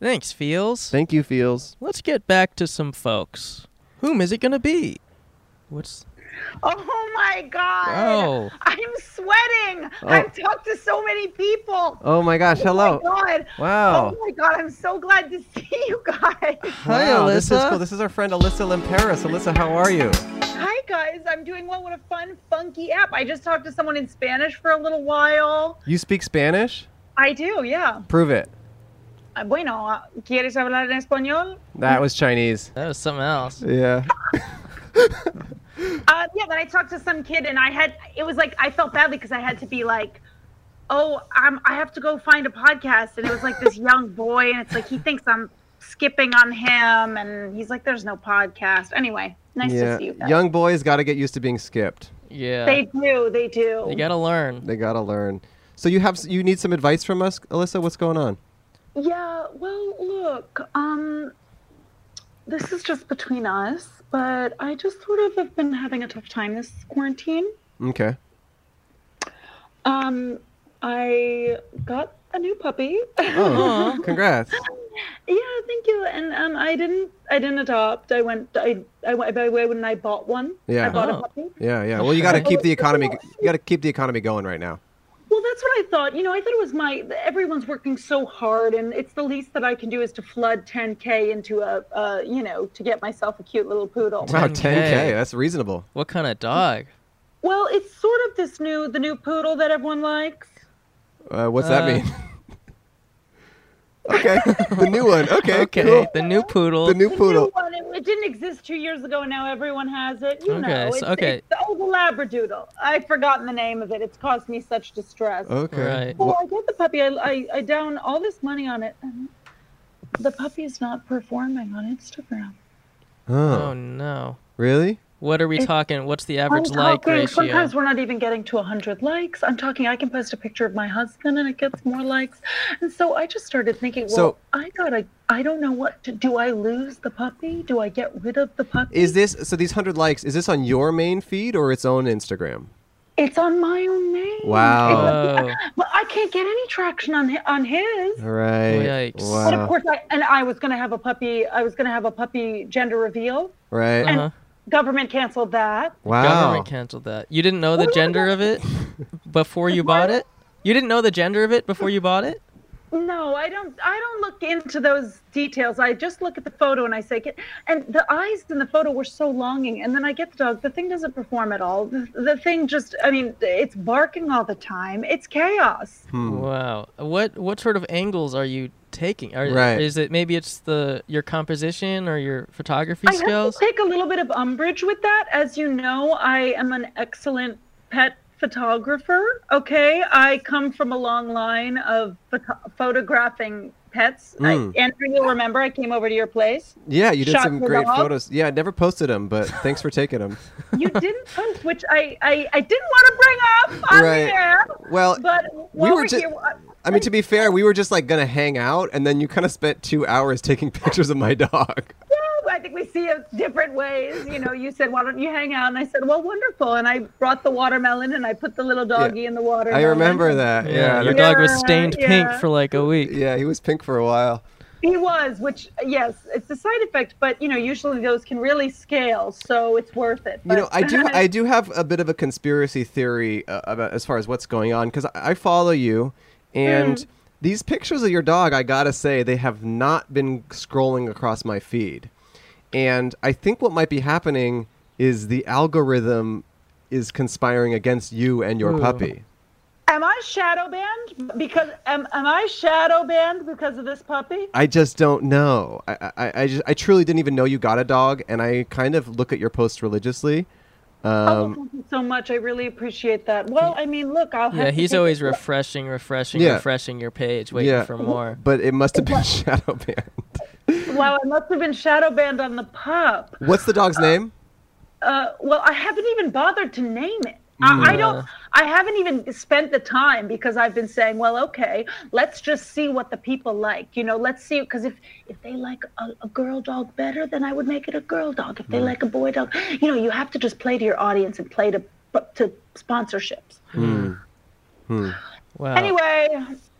Speaker 1: Thanks, feels.
Speaker 2: Thank you, Feels.
Speaker 1: Let's get back to some folks. Whom is it gonna be? What's?
Speaker 9: Oh my god!
Speaker 1: Oh,
Speaker 9: I'm sweating. I've talked to so many people.
Speaker 2: Oh my gosh, hello.
Speaker 9: Oh my god.
Speaker 2: Wow.
Speaker 9: Oh my god, I'm so glad to <laughs> see you guys.
Speaker 1: hi,
Speaker 2: wow,
Speaker 1: Alyssa.
Speaker 2: This is cool. This is our friend Alyssa Limperis. Alyssa, how are you?
Speaker 9: Hi guys, I'm doing well. What a fun, funky app. I just talked to someone in Spanish for a little while.
Speaker 2: You speak Spanish?
Speaker 9: I do, yeah.
Speaker 2: Prove it.
Speaker 9: Uh, Bueno, ¿quieres hablar en español?
Speaker 2: That was Chinese.
Speaker 1: that was something else.
Speaker 2: Yeah.
Speaker 9: Uh, yeah, then I talked to some kid and I had, it was like, I felt badly because I had to be like, oh, um, I have to go find a podcast. And it was like this young boy and it's like, he thinks I'm skipping on him. And he's like, there's no podcast. Anyway, nice to see you. guys.
Speaker 2: Young boys got to get used to being skipped.
Speaker 1: Yeah,
Speaker 9: They do, they do.
Speaker 1: you gotta learn.
Speaker 2: They got to learn. So you have you need some advice from us, Alyssa? What's going on?
Speaker 9: Yeah, well, look, um, this is just between us, but I just sort of have been having a tough time this quarantine. <laughs>
Speaker 2: Okay.
Speaker 9: Um, I got a new puppy. <laughs>
Speaker 2: Oh, congrats.
Speaker 9: Yeah, thank you. And um, I didn't, I didn't adopt. I went, I, I went by way when I bought one.
Speaker 2: Yeah.
Speaker 9: I bought a
Speaker 1: Oh.
Speaker 9: puppy.
Speaker 2: Yeah, yeah. Well, you got to
Speaker 9: Okay.
Speaker 2: keep the economy. You got to keep the economy going right now.
Speaker 9: Well, that's what I thought. You know, I thought it was my everyone's working so hard, and it's the least that I can do is to flood 10k into a, uh, you know, to get myself a cute little poodle.
Speaker 2: Wow,
Speaker 1: 10K.
Speaker 2: 10k. That's reasonable.
Speaker 1: Oh, What kind of dog?
Speaker 9: Well, it's sort of this new, the new poodle that everyone likes.
Speaker 2: Uh, what's that
Speaker 1: Uh, <laughs>
Speaker 2: mean? okay, the new one. Okay,
Speaker 1: Okay,
Speaker 2: cool.
Speaker 1: the new poodle.
Speaker 2: The new
Speaker 9: The
Speaker 2: poodle.
Speaker 9: new one. It, it didn't exist two years ago, and now everyone has it. You
Speaker 1: Okay,
Speaker 9: know,
Speaker 1: so-
Speaker 9: it's,
Speaker 1: okay.
Speaker 9: it's the old labradoodle. I've forgotten the name of it. It's caused me such distress.
Speaker 2: Okay.
Speaker 1: Right.
Speaker 9: Well, I get the puppy. I, I, I down all this money on it. And the puppy is not performing on Instagram.
Speaker 1: Oh
Speaker 2: Oh,
Speaker 1: no.
Speaker 2: really?
Speaker 1: What are we
Speaker 9: It's-
Speaker 1: talking? What's the average
Speaker 9: I'm
Speaker 1: like
Speaker 9: talking,
Speaker 1: ratio?
Speaker 9: Sometimes we're not even getting to 100 likes. I'm talking, I can post a picture of my husband and it gets more likes. And so I just started thinking, well,
Speaker 2: So-
Speaker 9: I gotta, I don't know what to do. I lose the puppy? Do I get rid of the puppy?
Speaker 2: Is this so? These hundred likes. Is this on your main feed or its own Instagram?
Speaker 9: It's on my own name.
Speaker 2: Wow.
Speaker 1: Whoa.
Speaker 9: But I can't get any traction on hi- on his.
Speaker 2: All right.
Speaker 1: Yikes.
Speaker 9: But of
Speaker 2: Wow.
Speaker 9: course, I, and I was gonna have a puppy. I was gonna have a puppy gender reveal.
Speaker 2: Right.
Speaker 1: Uh-huh.
Speaker 9: Government canceled that.
Speaker 2: Wow.
Speaker 1: Government canceled that. You didn't know the
Speaker 9: What do I
Speaker 1: gender of it before you bought it? You didn't know the gender of it before you bought it?
Speaker 9: No, I don't. I don't look into those details. I just look at the photo and I say, "Get-" and the eyes in the photo were so longing. And then I get the dog. The thing doesn't perform at all. The, the thing just, I mean, it's barking all the time. It's chaos.
Speaker 2: Hmm.
Speaker 1: Wow. What what sort of angles are you taking? Are,
Speaker 2: Right.
Speaker 1: Is it maybe it's the your composition or your photography
Speaker 9: I have
Speaker 1: skills?
Speaker 9: to take a little bit of umbrage with that. As you know, I am an excellent pet photographer. Okay, I come from a long line of photo- photographing pets. I-
Speaker 2: Mm.
Speaker 9: Andrew, you'll remember I came over to your place.
Speaker 2: Yeah, you did
Speaker 9: Shot
Speaker 2: some
Speaker 9: the
Speaker 2: great
Speaker 9: dog.
Speaker 2: photos. Yeah, I never posted them, but thanks for taking them. <laughs>
Speaker 9: you didn't post, which I, I, I didn't want to bring up on
Speaker 2: Right.
Speaker 9: the air.
Speaker 2: Well,
Speaker 9: But
Speaker 2: we
Speaker 9: while
Speaker 2: were
Speaker 9: we're
Speaker 2: just.
Speaker 9: here, I-
Speaker 2: I mean, to be fair, we were just like gonna hang out, and then you kind of spent two hours taking <laughs> pictures of my dog.
Speaker 9: woo, I think we see it different ways. You know, you said, why don't you hang out? And I said, well, wonderful. And I brought the watermelon and I put the little doggy in the water.
Speaker 2: I remember that. Yeah,
Speaker 1: your
Speaker 2: that-
Speaker 9: Yeah,
Speaker 1: dog was stained pink
Speaker 9: yeah.
Speaker 1: for like a week.
Speaker 2: yeah, he was pink for a while.
Speaker 9: He was, which, yes, it's a side effect, but, you know, usually those can really scale. So it's worth it.
Speaker 2: You know,
Speaker 9: But-
Speaker 2: I
Speaker 9: <laughs>
Speaker 2: do, I do have a bit of a conspiracy theory uh, about as far as what's going on because I, I follow you, and these pictures of your dog, I gotta say, they have not been scrolling across my feed, and I think what might be happening is the algorithm is conspiring against you and your
Speaker 1: Ooh.
Speaker 2: puppy.
Speaker 9: am I shadow banned? Because, am, am I shadow banned because of this puppy?
Speaker 2: I just don't know. I, I, I just I truly didn't even know you got a dog, and I kind of look at your posts religiously.
Speaker 9: Oh,
Speaker 2: Um,
Speaker 1: <laughs>
Speaker 9: thank you so much. I really appreciate that. Well, I mean, look, I'll have
Speaker 1: Yeah,
Speaker 9: to
Speaker 1: he's
Speaker 9: take-
Speaker 1: always refreshing, refreshing,
Speaker 2: Yeah.
Speaker 1: refreshing your page, waiting
Speaker 2: Yeah.
Speaker 1: for more.
Speaker 2: but it must have been shadow banned.
Speaker 9: Wow, I must have been shadow banned on the pup.
Speaker 2: What's the dog's name?
Speaker 9: Uh, well, I haven't even bothered to name it. I, I don't. I haven't even spent the time because I've been saying, well, okay, let's just see what the people like. You know, let's see because if if they like a, a girl dog better, then I would make it a girl dog. If they like a boy dog, <gasps> you know, you have to just play to your audience and play to to sponsorships.
Speaker 3: Hmm.
Speaker 2: Oh.
Speaker 1: Wow.
Speaker 9: Anyway,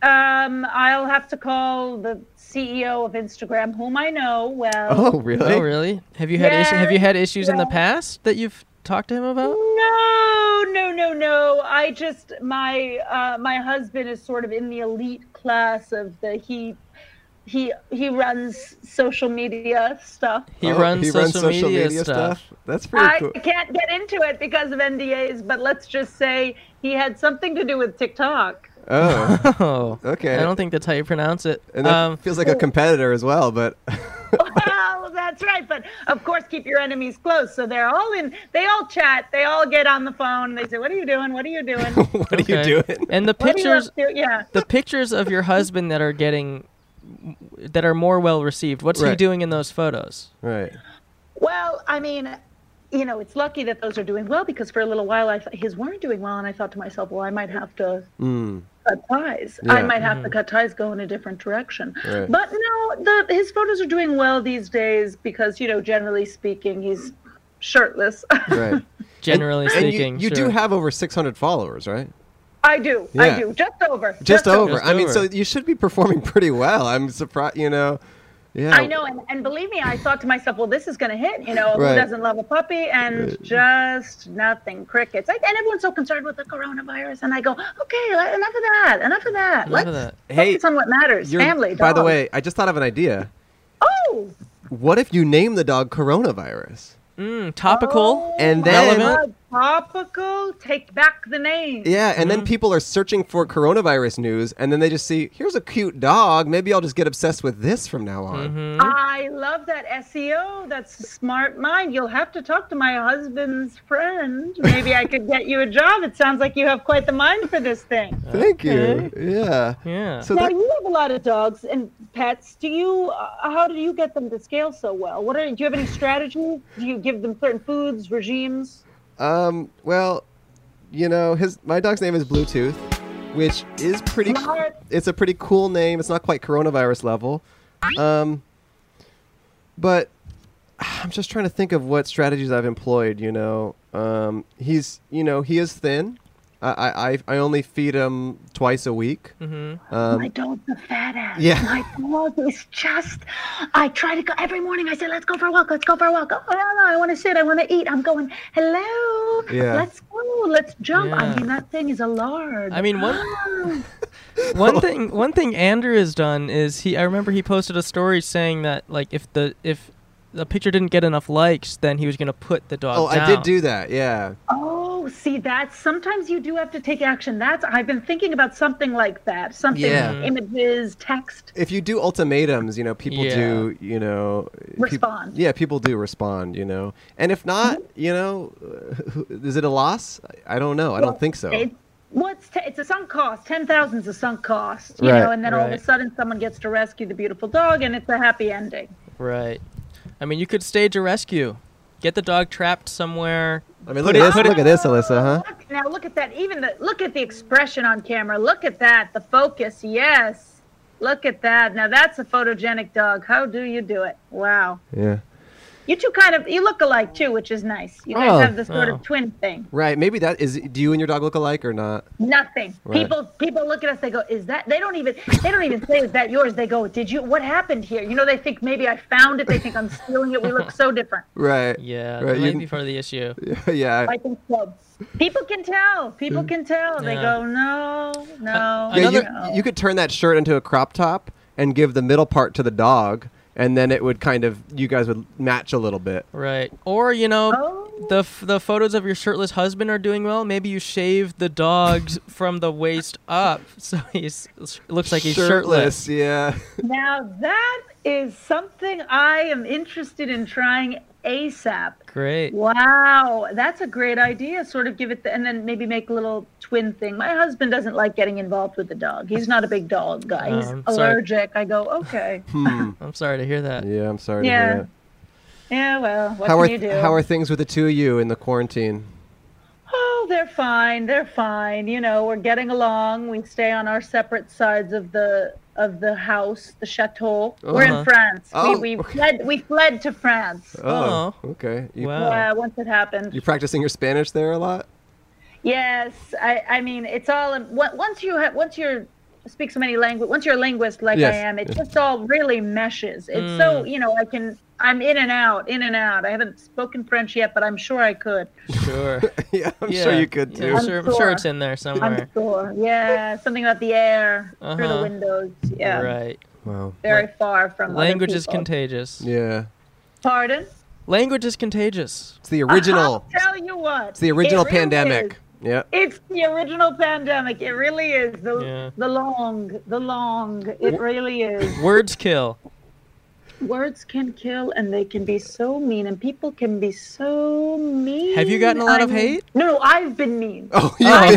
Speaker 9: um, I'll have to call the CEO of Instagram, whom I know well.
Speaker 2: <laughs> Oh, really?
Speaker 1: Oh, really? Have you had issues? Have you had issues in the past that you've talked to him about?
Speaker 9: No, no, no, no. I just my uh, my husband is sort of in the elite class of the he he he runs social media stuff.
Speaker 1: He
Speaker 2: Oh,
Speaker 1: runs social, media, stuff.
Speaker 2: That's pretty
Speaker 9: I
Speaker 1: <laughs>
Speaker 2: cool.
Speaker 9: can't get into it because of NDAs, but let's just say he had something to do with TikTok. <laughs>
Speaker 2: Oh,
Speaker 1: <laughs> Oh,
Speaker 2: okay.
Speaker 1: I don't think that's how you pronounce it.
Speaker 2: and that
Speaker 1: Um,
Speaker 2: feels like a competitor as well,
Speaker 1: <laughs>
Speaker 2: but
Speaker 9: well, that's right. But of course, keep your enemies close. So they're all in. They all chat. They all get on the phone. They say, "What are you doing? What are you doing? What
Speaker 2: <laughs> what are you
Speaker 1: okay.
Speaker 2: doing?
Speaker 1: And the
Speaker 9: are you up
Speaker 1: pictures,
Speaker 9: to?" Yeah.
Speaker 1: the pictures of your husband that are getting, that are more well received. What's he
Speaker 2: Right.
Speaker 1: doing in those photos?
Speaker 2: Right.
Speaker 9: Well, I mean, you know, it's lucky that those are doing well because for a little while, I th- his weren't doing well, and I thought to myself, well, I might have to
Speaker 3: Hmm.
Speaker 2: Mm.
Speaker 9: cut ties. I
Speaker 2: Yeah. Mm-hmm.
Speaker 9: might have to cut ties, go in a different direction.
Speaker 2: Right.
Speaker 9: But no, the his photos are doing well these days because you know, generally speaking, he's shirtless.
Speaker 2: Right. <laughs>
Speaker 1: Generally
Speaker 2: and
Speaker 1: speaking,
Speaker 2: you, you
Speaker 1: sure.
Speaker 2: do have over 600 followers, right?
Speaker 9: <laughs> I do.
Speaker 2: Yeah.
Speaker 9: I do. Just over.
Speaker 2: Just over.
Speaker 1: Just
Speaker 2: I mean, so
Speaker 1: over.
Speaker 2: you should be performing <laughs> pretty well. I'm surprised, you know. Yeah.
Speaker 9: I know, and, and believe me, I thought to myself, well, this is going to hit. You know,
Speaker 2: Right.
Speaker 9: who doesn't love a puppy? And just nothing, crickets. I, and everyone's so concerned with the coronavirus, and I go, okay, let, enough of that, enough of that.
Speaker 1: None
Speaker 9: Let's
Speaker 1: of that.
Speaker 2: Hey,
Speaker 9: focus on what matters.
Speaker 2: you're-
Speaker 9: Family.
Speaker 2: By the
Speaker 9: dog.
Speaker 2: way, I just thought of an idea.
Speaker 9: oh,
Speaker 2: What if you name the dog coronavirus?
Speaker 1: Mm, topical.
Speaker 9: Oh
Speaker 2: And
Speaker 9: my
Speaker 2: then-
Speaker 1: Relevant.
Speaker 9: God, topical. Take back the name.
Speaker 2: Yeah, and
Speaker 1: Mm.
Speaker 2: then people are searching for coronavirus news, and then they just see, here's a cute dog. Maybe I'll just get obsessed with this from now on.
Speaker 9: Mm-hmm.
Speaker 1: Mhm.
Speaker 9: I love that SEO. That's a smart mind. You'll have to talk to my husband's friend. Maybe I could get you a job. It sounds like you have quite the mind for this thing.
Speaker 2: Thank you. Yeah.
Speaker 1: Mm-hmm. Yeah.
Speaker 2: So
Speaker 9: now
Speaker 2: that,
Speaker 9: you have a lot of dogs and pets. Do you? Uh, how do you get them to scale so well? What are? Do you have any strategy? Do you give them certain foods, regimes?
Speaker 2: um, well, you know, his my dog's name is Bluetooth, which is pretty. Cool.
Speaker 9: Smart.
Speaker 2: It's a pretty cool name. It's not quite coronavirus level, um, but I'm just trying to think of what strategies I've employed. You know, um, he's you know he is thin. I- I, I, I only feed him twice a week.
Speaker 1: Mhm.
Speaker 2: Um,
Speaker 9: Oh my dog's a fat ass.
Speaker 2: yeah.
Speaker 9: My dog is just. I try to go every morning. I say, "Let's go for a walk. Let's go for a walk." Oh no, no! I want to sit. I want to eat. I'm going. Hello.
Speaker 2: Yeah.
Speaker 9: Let's go. Let's jump.
Speaker 1: Yeah.
Speaker 9: I mean, that thing is a Ah. lard.
Speaker 1: I
Speaker 9: <gasps>
Speaker 1: mean, one one thing one thing Andrew has done is he. I remember he posted a story saying that like if the if the picture didn't get enough likes, then he was gonna put the dog
Speaker 2: Oh,
Speaker 1: down.
Speaker 2: I did do that. Yeah.
Speaker 9: Oh, see, that's sometimes you do have to take action. That's I've been thinking about something like that. Something
Speaker 2: Yeah.
Speaker 9: images, text.
Speaker 2: If you do ultimatums, you know, people
Speaker 1: Yeah.
Speaker 2: do, you know, peop-
Speaker 9: Respond.
Speaker 2: yeah, people do respond, you know. And if not, you know, is it a loss? I I don't know. I don't think so.
Speaker 9: It's what's t- it's a sunk cost. Ten thousand's a sunk cost, you
Speaker 2: Right,
Speaker 9: know. And then all of
Speaker 1: right.
Speaker 9: a sudden, someone gets to rescue the beautiful dog, and it's a happy ending.
Speaker 1: Right. I mean, you could stage a rescue, get the dog trapped somewhere.
Speaker 2: I mean,
Speaker 1: Put
Speaker 2: look
Speaker 1: it-
Speaker 2: at this.
Speaker 1: put it-
Speaker 2: Look at this, Alyssa, huh?
Speaker 9: <laughs> Look, now look at that. Even the look at the expression on camera. Look at that. The focus. Yes. Look at that. Now that's a photogenic dog. How do you do it? Wow.
Speaker 2: Yeah.
Speaker 9: You two kind of you look alike too, which is nice. You guys
Speaker 2: Oh.
Speaker 9: have this sort
Speaker 1: Oh.
Speaker 9: of twin thing.
Speaker 2: Right. Maybe that is. Do you and your dog look alike or not?
Speaker 9: Nothing.
Speaker 2: Right.
Speaker 9: People people look at us. They go, "Is that?" They don't even they don't even say, "Is that yours?" They go, "Did you? What happened here?" You know, they think maybe I found it. They think I'm stealing it. We look so different.
Speaker 2: Right.
Speaker 1: Yeah,
Speaker 2: Right,
Speaker 1: that
Speaker 2: you-
Speaker 1: might be part of the issue.
Speaker 2: <laughs> yeah.
Speaker 9: I think so. People can tell. People can tell. They
Speaker 1: Yeah.
Speaker 9: go, "No, no,
Speaker 2: yeah you,
Speaker 9: no."
Speaker 2: you could turn that shirt into a crop top and give the middle part to the dog, and then it would kind of you guys would match a little bit.
Speaker 1: Right. Or you know,
Speaker 9: Oh.
Speaker 1: the f- the photos of your shirtless husband are doing well. Maybe you shave the
Speaker 9: <laughs>
Speaker 1: dogs from the waist up, <laughs> so he's looks like he's shirtless. <laughs>
Speaker 2: Yeah.
Speaker 9: Now that is something I am interested in trying ASAP.
Speaker 1: Great.
Speaker 9: Wow, that's a great idea. Sort of give it, the, and then maybe make a little twin thing. My husband doesn't like getting involved with the dog. He's not a big dog guy. He's
Speaker 1: Um, sorry.
Speaker 9: allergic. I go, okay,
Speaker 2: Hmm.
Speaker 1: I'm sorry to hear that.
Speaker 2: Yeah. I'm sorry. To
Speaker 9: Yeah.
Speaker 2: hear that.
Speaker 9: yeah, well, what
Speaker 2: how
Speaker 9: can
Speaker 2: are
Speaker 9: you do?
Speaker 2: how are things with the two of you in the quarantine?
Speaker 9: oh, they're fine. They're fine. You know, we're getting along. We stay on our separate sides of the of the house, the chateau. We're
Speaker 1: Uh-huh.
Speaker 9: in France.
Speaker 2: Oh,
Speaker 9: we, we
Speaker 2: okay.
Speaker 9: fled. We fled to France.
Speaker 1: Oh.
Speaker 2: okay. You,
Speaker 1: Wow.
Speaker 9: Yeah, once it happened.
Speaker 2: you practicing your Spanish there a lot?
Speaker 9: Yes, I, I mean it's all in- on- once you ha- once you're speak so many language once you're a linguist like
Speaker 2: Yes,
Speaker 9: I am, it
Speaker 2: yes. Mm.
Speaker 9: just all really meshes. It's so you know I can I'm in and out, in and out. I haven't spoken French yet, but I'm sure I could.
Speaker 1: Sure.
Speaker 2: <laughs> yeah, I'm
Speaker 1: yeah.
Speaker 2: sure you could
Speaker 1: Yeah,
Speaker 2: too.
Speaker 1: I'm
Speaker 9: I'm
Speaker 1: sure, I'm sure it's
Speaker 9: sure.
Speaker 1: in there
Speaker 9: I'm
Speaker 1: somewhere.
Speaker 9: sure. Yeah, something about the air through
Speaker 1: Uh-huh.
Speaker 9: the windows. Yeah,
Speaker 1: Right.
Speaker 2: Wow.
Speaker 9: very far from other
Speaker 1: Language is
Speaker 9: people.
Speaker 1: contagious.
Speaker 2: Yeah.
Speaker 9: Pardon.
Speaker 1: Language is contagious.
Speaker 2: It's the original.
Speaker 9: <laughs> I'll tell you what.
Speaker 2: It's the original
Speaker 9: it really
Speaker 2: pandemic.
Speaker 9: is.
Speaker 2: Yeah.
Speaker 9: It's the original pandemic. It really is the
Speaker 1: Yeah.
Speaker 9: the long, the long. It really is.
Speaker 1: Words kill.
Speaker 9: Words can kill, and they can be so mean, and people can be so mean.
Speaker 1: Have you gotten a lot of
Speaker 9: I mean-
Speaker 1: hate?
Speaker 9: No, no, I've been mean.
Speaker 2: <laughs> Oh, yeah.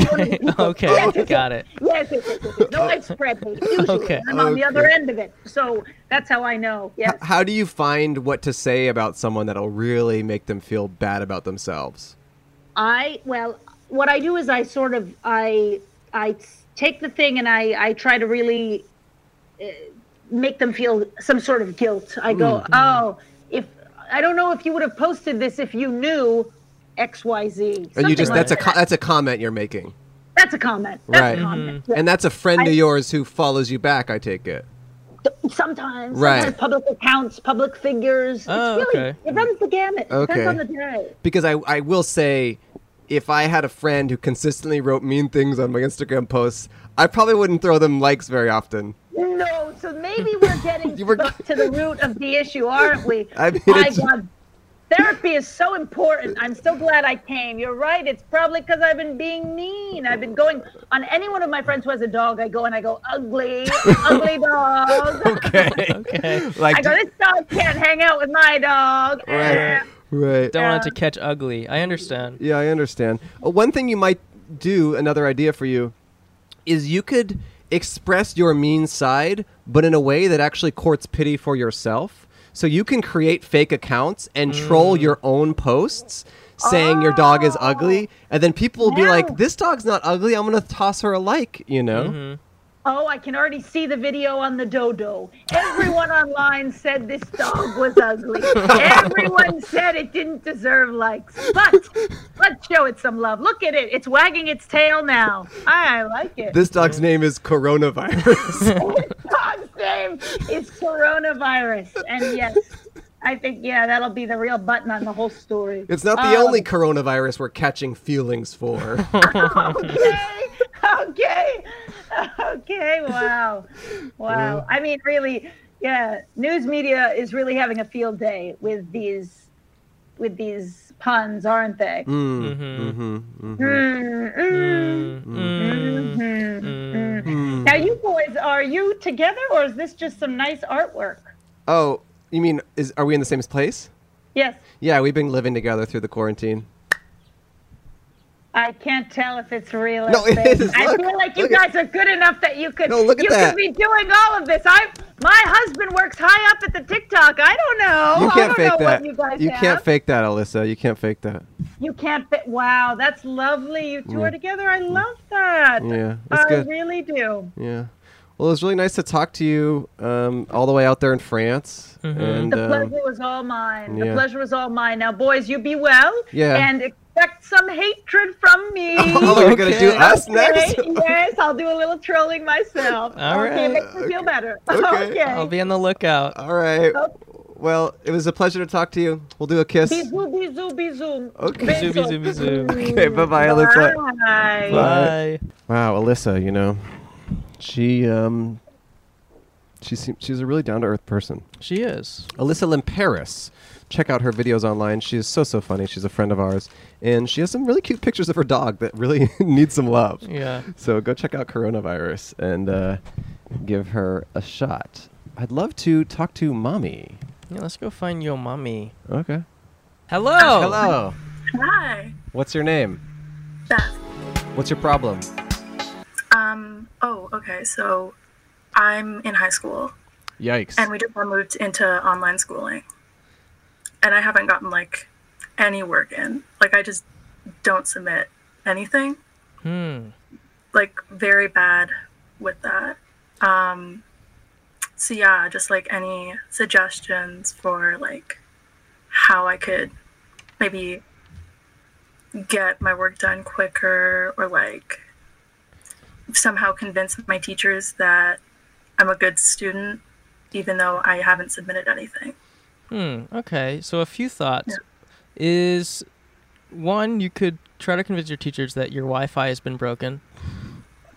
Speaker 1: okay. <laughs> okay. Got
Speaker 9: <laughs>
Speaker 1: it.
Speaker 9: Yes, yes, yes, yes, yes. No, I spread hate. Usually,
Speaker 1: Okay.
Speaker 9: I'm on the other
Speaker 2: Okay.
Speaker 9: end of it, so that's how I know. Yes.
Speaker 2: How do you find what to say about someone that'll really make them feel bad about themselves?
Speaker 9: I well, what I do is I sort of I I take the thing and I I try to really uh, make them feel some sort of guilt. I go,
Speaker 2: Mm-hmm.
Speaker 9: oh, if I don't know if you would have posted this if you knew X Y Z.
Speaker 2: And you
Speaker 9: Something
Speaker 2: just
Speaker 9: like
Speaker 2: that's a
Speaker 9: that.
Speaker 2: co- that's a comment you're making.
Speaker 9: That's a comment. That's
Speaker 2: Right.
Speaker 9: a
Speaker 1: Mm-hmm.
Speaker 9: comment.
Speaker 2: And that's a friend of yours who follows you back, I take it.
Speaker 9: Sometimes,
Speaker 2: Right.
Speaker 9: sometimes public accounts, public figures.
Speaker 1: Oh,
Speaker 9: it's really
Speaker 1: okay.
Speaker 9: it runs the gamut.
Speaker 2: Okay.
Speaker 9: Depends on the day.
Speaker 2: Because I, I will say, if I had a friend who consistently wrote mean things on my Instagram posts, I probably wouldn't throw them likes very often.
Speaker 9: No, so maybe we're getting
Speaker 2: <laughs> You were-
Speaker 9: to the root of the issue, aren't we?
Speaker 2: <laughs> I mean,
Speaker 9: My
Speaker 2: it's-
Speaker 9: God, therapy is so important. I'm so glad I came. You're right. It's probably because I've been being mean. I've been going on any one of my friends who has a dog. I go and I go ugly,
Speaker 2: <laughs>
Speaker 9: ugly dog.
Speaker 2: Okay.
Speaker 1: Okay.
Speaker 2: like,
Speaker 9: I go, this dog can't hang out with my dog. Eh.
Speaker 2: right, right.
Speaker 1: Don't want it to catch ugly. I understand.
Speaker 2: Yeah, I understand. Uh, One thing you might do, another idea for you, is you could express your mean side, but in a way that actually courts pity for yourself. So you can create fake accounts and
Speaker 1: Mm.
Speaker 2: troll your own posts saying your dog is ugly, and then people will be like,
Speaker 9: No.
Speaker 2: "This dog's not ugly. I'm gonna toss her a like," you know.
Speaker 1: Mm-hmm.
Speaker 9: Oh, I can already see the video on the dodo. Everyone online said this dog was ugly. Everyone said it didn't deserve likes. But let's show it some love. Look at it. It's wagging its tail now. I like it.
Speaker 2: This dog's name is coronavirus.
Speaker 9: dog's name is coronavirus. And yes, I think, yeah, that'll be the real button on the whole story.
Speaker 2: it's not the
Speaker 9: Um,
Speaker 2: only coronavirus we're catching feelings for.
Speaker 9: okay, <laughs> okay, okay. Wow, wow. I mean, really, yeah. News media is really having a field day with these, with these puns, aren't
Speaker 3: Hmm.
Speaker 9: they?
Speaker 2: Mm,
Speaker 1: Mhm.
Speaker 3: Mm-hmm.
Speaker 2: mhm,
Speaker 9: Mm, mm,
Speaker 2: mhm,
Speaker 3: Hmm.
Speaker 1: Mm,
Speaker 9: mhm, mm.
Speaker 1: mm.
Speaker 2: mm.
Speaker 9: Now, you boys, are you together, or is this just some nice artwork?
Speaker 2: Oh, you mean is are we in the same place?
Speaker 9: Yes,
Speaker 2: Yeah, we've been living together through the quarantine.
Speaker 9: I can't tell if it's real. or
Speaker 2: No, it
Speaker 9: fake.
Speaker 2: is.
Speaker 9: I
Speaker 2: Look,
Speaker 9: feel like you
Speaker 2: look at-
Speaker 9: guys are good enough that you could.
Speaker 2: No, look at
Speaker 9: you
Speaker 2: that.
Speaker 9: could be doing all of this. I, my husband works high up at the TikTok. I don't know.
Speaker 2: you can't
Speaker 9: Oh, I don't
Speaker 2: fake
Speaker 9: know
Speaker 2: that.
Speaker 9: What you guys have.
Speaker 2: can't fake that, Alyssa. You can't fake that.
Speaker 9: You can't fit. Wow, that's lovely. You two
Speaker 2: Yeah.
Speaker 9: are together. I love that.
Speaker 2: Mm. Yeah, that's
Speaker 9: I
Speaker 2: good.
Speaker 9: really do.
Speaker 2: Yeah. Well, it was really nice to talk to you um, all the way out there in France.
Speaker 1: Mhm.
Speaker 2: And
Speaker 9: The
Speaker 2: um,
Speaker 9: pleasure was all mine.
Speaker 2: yeah.
Speaker 9: The pleasure was all mine. Now, boys, you be well.
Speaker 2: Yeah.
Speaker 9: And expect some hatred from me.
Speaker 2: <laughs> oh, you're gonna do
Speaker 1: Okay.
Speaker 2: us
Speaker 9: Okay,
Speaker 2: next?
Speaker 9: yes, I'll do a little trolling
Speaker 2: <laughs>
Speaker 9: myself.
Speaker 1: All
Speaker 9: okay,
Speaker 1: right.
Speaker 9: makes me feel better. <laughs>
Speaker 2: Okay.
Speaker 1: I'll be on the lookout.
Speaker 2: all right. Well, it was a pleasure to talk to you. We'll do a kiss.
Speaker 9: Bisou, bisou, bisou.
Speaker 2: Okay.
Speaker 1: Bisou, bisou, bisou.
Speaker 2: Okay. Bye, bye, Alyssa.
Speaker 9: Bye.
Speaker 1: Bye.
Speaker 2: Wow, Alyssa. You know, she um, she seems she's a really down to earth person.
Speaker 1: She is.
Speaker 2: Alyssa Limperis. Check out her videos online. She is so so funny. She's a friend of ours, and she has some really cute pictures of her dog that really <laughs> need some love.
Speaker 1: Yeah.
Speaker 2: So go check out Coronavirus and uh, give her a shot. I'd love to talk to mommy.
Speaker 1: Yeah, let's go find your mommy.
Speaker 2: Okay.
Speaker 1: Hello.
Speaker 2: Hello.
Speaker 10: Hi.
Speaker 2: What's your name?
Speaker 10: Beth.
Speaker 2: What's your problem?
Speaker 10: Um, oh, okay. So I'm in high school
Speaker 2: Yikes.
Speaker 10: and we just all moved into online schooling. And I haven't gotten like any work in. Like I just don't submit anything.
Speaker 1: Hmm.
Speaker 10: Like very bad with that. Um so yeah, just like any suggestions for like how I could maybe get my work done quicker or like somehow convince my teachers that I'm a good student even though I haven't submitted anything.
Speaker 1: Hmm. Okay. So a few thoughts is one you could try to convince your teachers that your Wi-Fi has been broken.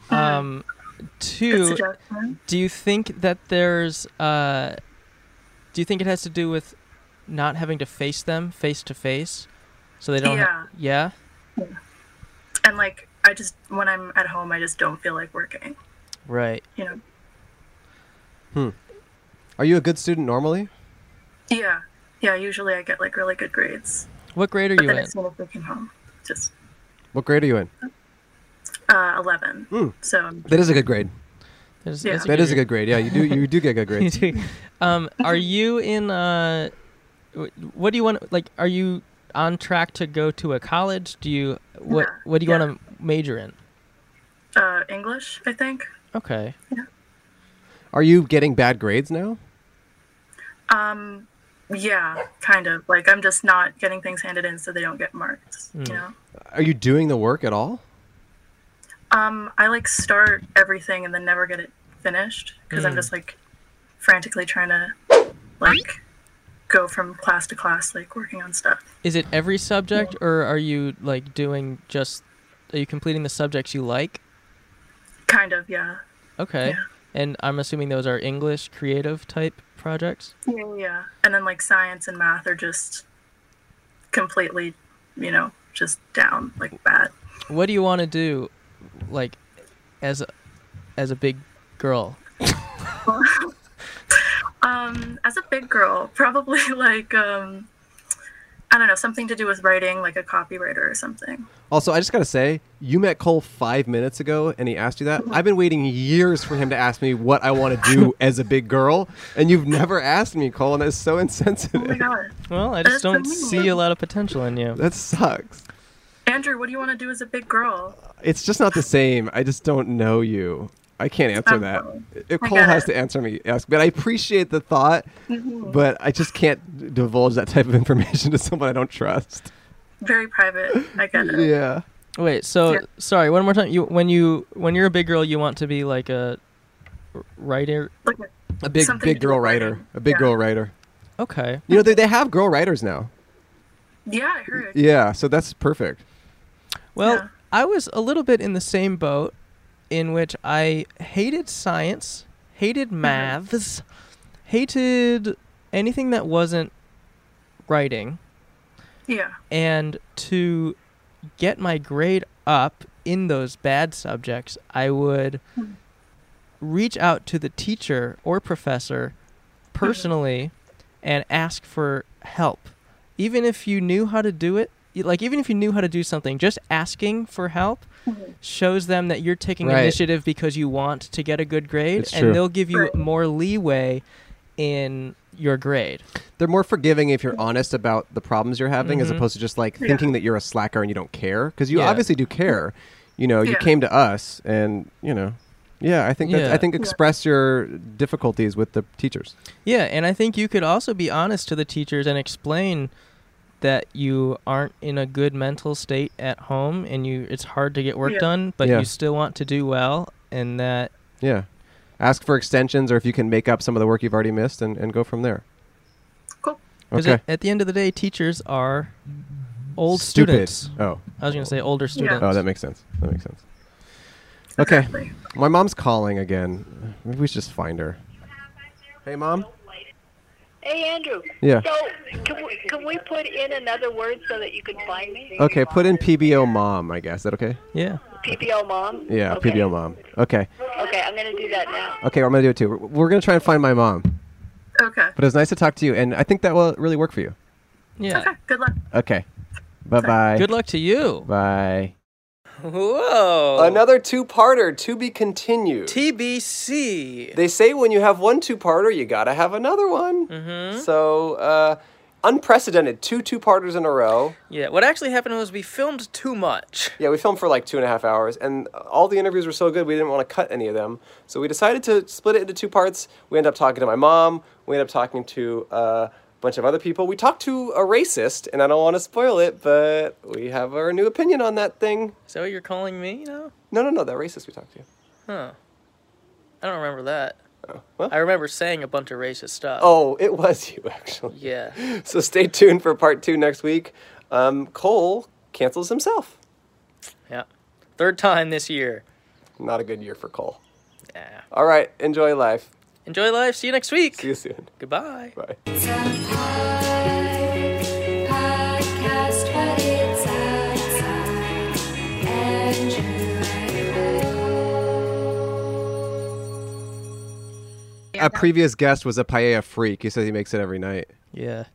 Speaker 1: Um.
Speaker 10: Good
Speaker 1: Two.
Speaker 10: suggestion.
Speaker 1: Do you think that there's uh do you think it has to do with not having to face them face to face so they don't ha- yeah
Speaker 10: And like I just when I'm at home I just don't feel like working.
Speaker 1: right
Speaker 10: You know?
Speaker 2: Hmm. Are you a good student normally?
Speaker 10: Yeah. Yeah, usually I get like really good grades.
Speaker 1: what grade are
Speaker 10: But
Speaker 1: you
Speaker 10: then
Speaker 1: in
Speaker 10: as soon as I came home, just
Speaker 2: What grade are you in?
Speaker 10: uh, eleven.
Speaker 2: Hmm.
Speaker 10: So um,
Speaker 2: That is a good grade.
Speaker 1: There's-
Speaker 10: Yeah.
Speaker 1: there's
Speaker 2: That is a
Speaker 1: grade.
Speaker 2: good grade. Yeah, you do you do get good
Speaker 1: <laughs> You
Speaker 2: grades.
Speaker 1: do. um are you in uh wh- what do you want like are you on track to go to a college do you what
Speaker 10: Yeah,
Speaker 1: what do you
Speaker 10: yeah.
Speaker 1: want to major in
Speaker 10: uh, English, I think.
Speaker 1: okay
Speaker 2: Are you getting bad grades now?
Speaker 10: Um, yeah, kind of. Like I'm just not getting
Speaker 1: Hmm.
Speaker 10: things handed in so they don't get marked. You know.
Speaker 2: Are you doing the work at all?
Speaker 10: Um, I like start everything and then never get it finished because I'm
Speaker 1: Hmm.
Speaker 11: Mm.
Speaker 10: just like frantically trying to like go from class to class, like working on stuff.
Speaker 1: Is it every subject, or are you like doing just? Are you completing the subjects you like?
Speaker 10: Kind of, yeah.
Speaker 1: Okay.
Speaker 10: Yeah.
Speaker 1: And I'm assuming those are English creative type projects.
Speaker 10: Yeah, yeah. And then like science and math are just completely, you know, just down like bad.
Speaker 1: What do you want to do, like, as a, as a big girl?
Speaker 10: Um, as a big girl, <laughs> probably like um, I don't know, something to do with writing, like a copywriter or something.
Speaker 2: Also, I just gotta say, you met Cole five minutes ago, and he asked you
Speaker 10: Uh-huh.
Speaker 2: that. I've been waiting years for him to ask me what I want to
Speaker 1: <laughs>
Speaker 2: do as a big girl, and you've never asked me, Cole, and that's so insensitive.
Speaker 1: Well, I just
Speaker 10: Oh That's
Speaker 1: don't
Speaker 10: so mean.
Speaker 1: see a lot of potential in you.
Speaker 2: That sucks.
Speaker 10: Andrew, what do you want to do as a big girl?
Speaker 2: It's just not the same. I just don't know you. I can't answer
Speaker 10: I'm
Speaker 2: that.
Speaker 10: sorry.
Speaker 2: If
Speaker 10: Um, I
Speaker 2: Cole
Speaker 10: get
Speaker 2: has
Speaker 10: it.
Speaker 2: to answer me, ask. But I appreciate the thought,
Speaker 10: Mhm.
Speaker 2: but I just can't d- divulge that type of information <laughs> to someone I don't trust.
Speaker 10: Very private. I get it.
Speaker 2: Yeah.
Speaker 1: Wait. So
Speaker 10: Yeah.
Speaker 1: sorry. One more time. You when you when you're a big girl, you want to be like a r- writer.
Speaker 10: Like
Speaker 2: A big
Speaker 10: Something
Speaker 2: big
Speaker 10: to do
Speaker 2: girl
Speaker 10: with
Speaker 2: writer. A big
Speaker 10: Yeah.
Speaker 2: girl writer.
Speaker 1: Okay.
Speaker 2: You know they they have girl writers now.
Speaker 10: Yeah, I heard.
Speaker 2: Yeah, so that's perfect.
Speaker 1: Well,
Speaker 10: Yeah.
Speaker 1: I was a little bit in the same boat in which I hated science, hated
Speaker 10: Mm-hmm.
Speaker 1: maths, hated anything that wasn't writing,
Speaker 10: Yeah.
Speaker 1: and to get my grade up in those bad subjects, I would
Speaker 10: Hmm.
Speaker 1: reach out to the teacher or professor personally and ask for help. Even if you knew how to do it, y- like even if you knew how to do something, just asking for help
Speaker 10: Hmm.
Speaker 1: shows them that you're taking
Speaker 2: Right.
Speaker 1: initiative because you want to get a good grade
Speaker 2: It's
Speaker 1: and
Speaker 2: true.
Speaker 1: they'll give you
Speaker 10: Right.
Speaker 1: more leeway in your grade.
Speaker 2: They're more forgiving if you're honest about the problems you're having as
Speaker 1: Mhm.
Speaker 2: opposed to just like
Speaker 10: Mm-hmm. Yeah.
Speaker 2: thinking that you're a slacker and you don't care because you
Speaker 1: Yeah.
Speaker 2: obviously do care. You know, you
Speaker 10: Yeah.
Speaker 2: came to us and, you know, yeah, I think that's, I
Speaker 1: Yeah.
Speaker 2: think
Speaker 10: Yeah.
Speaker 2: express your difficulties with the teachers.
Speaker 1: Yeah, and I think you could also be honest to the teachers and explain that you aren't in a good mental state at home and you it's hard to get work
Speaker 10: Yeah.
Speaker 1: done, but
Speaker 2: Yeah.
Speaker 1: you still want to do well and that
Speaker 2: Yeah. Ask for extensions or if you can make up some of the work you've already missed and, and go from there.
Speaker 10: Cool.
Speaker 1: Because
Speaker 2: Okay.
Speaker 1: at the end of the day, teachers are old
Speaker 2: Stupid.
Speaker 1: students.
Speaker 2: Oh.
Speaker 1: I was going to say older students.
Speaker 2: Oh, that makes sense. That makes sense. Okay.
Speaker 10: Exactly.
Speaker 2: My mom's calling again. Maybe we should just find her. Hey, mom.
Speaker 12: Hey, Andrew.
Speaker 2: Yeah.
Speaker 12: So, can we, can we put in another word so that you can find me?
Speaker 2: Okay, put in PBO mom, I guess. Is that okay?
Speaker 1: yeah.
Speaker 12: PPO mom?
Speaker 2: Yeah,
Speaker 12: okay.
Speaker 2: PBO mom. Okay.
Speaker 12: Okay, I'm going to do that now.
Speaker 2: Okay, I'm going to do it too. We're- We're going to try and find my mom.
Speaker 10: Okay.
Speaker 2: But it's nice to talk to you, and I think that will really work for you.
Speaker 1: Yeah.
Speaker 10: Okay. Good luck.
Speaker 2: Okay. Bye bye.
Speaker 1: Good luck to you.
Speaker 2: Bye.
Speaker 1: Whoa.
Speaker 2: Another two parter to be continued.
Speaker 1: TBC.
Speaker 2: They say when you have one two parter, you gotta have another one.
Speaker 1: Mm-hmm.
Speaker 2: So, uh, unprecedented two two parters in a row.
Speaker 1: Yeah. What actually happened was we filmed too much.
Speaker 2: Yeah, we filmed for like two and a half hours, and all the interviews were so good we didn't want to cut any of them. So we decided to split it into two parts. We ended up talking to my mom. We ended up talking to uh, a bunch of other people. We talked to a racist, and I don't want to spoil it, but we have our new opinion on that thing.
Speaker 1: Is that what you're calling me now?
Speaker 2: No, no, no, that racist we talked to.
Speaker 1: Huh. I don't remember that.
Speaker 2: well.
Speaker 1: I remember saying a bunch of racist stuff.
Speaker 2: Oh, it was <laughs> you actually.
Speaker 1: Yeah.
Speaker 2: So stay tuned for part two next week. Um, Cole cancels himself.
Speaker 1: Yeah. Third time this year.
Speaker 2: Not a good year for Cole.
Speaker 1: Yeah.
Speaker 2: All right, enjoy life.
Speaker 1: Enjoy life. See you next week.
Speaker 2: See you soon.
Speaker 1: Goodbye.
Speaker 2: Bye.
Speaker 3: It's a pod- podcast, but it's outside. And
Speaker 2: A previous guest was a paella freak. He says he makes it every night.
Speaker 1: Yeah.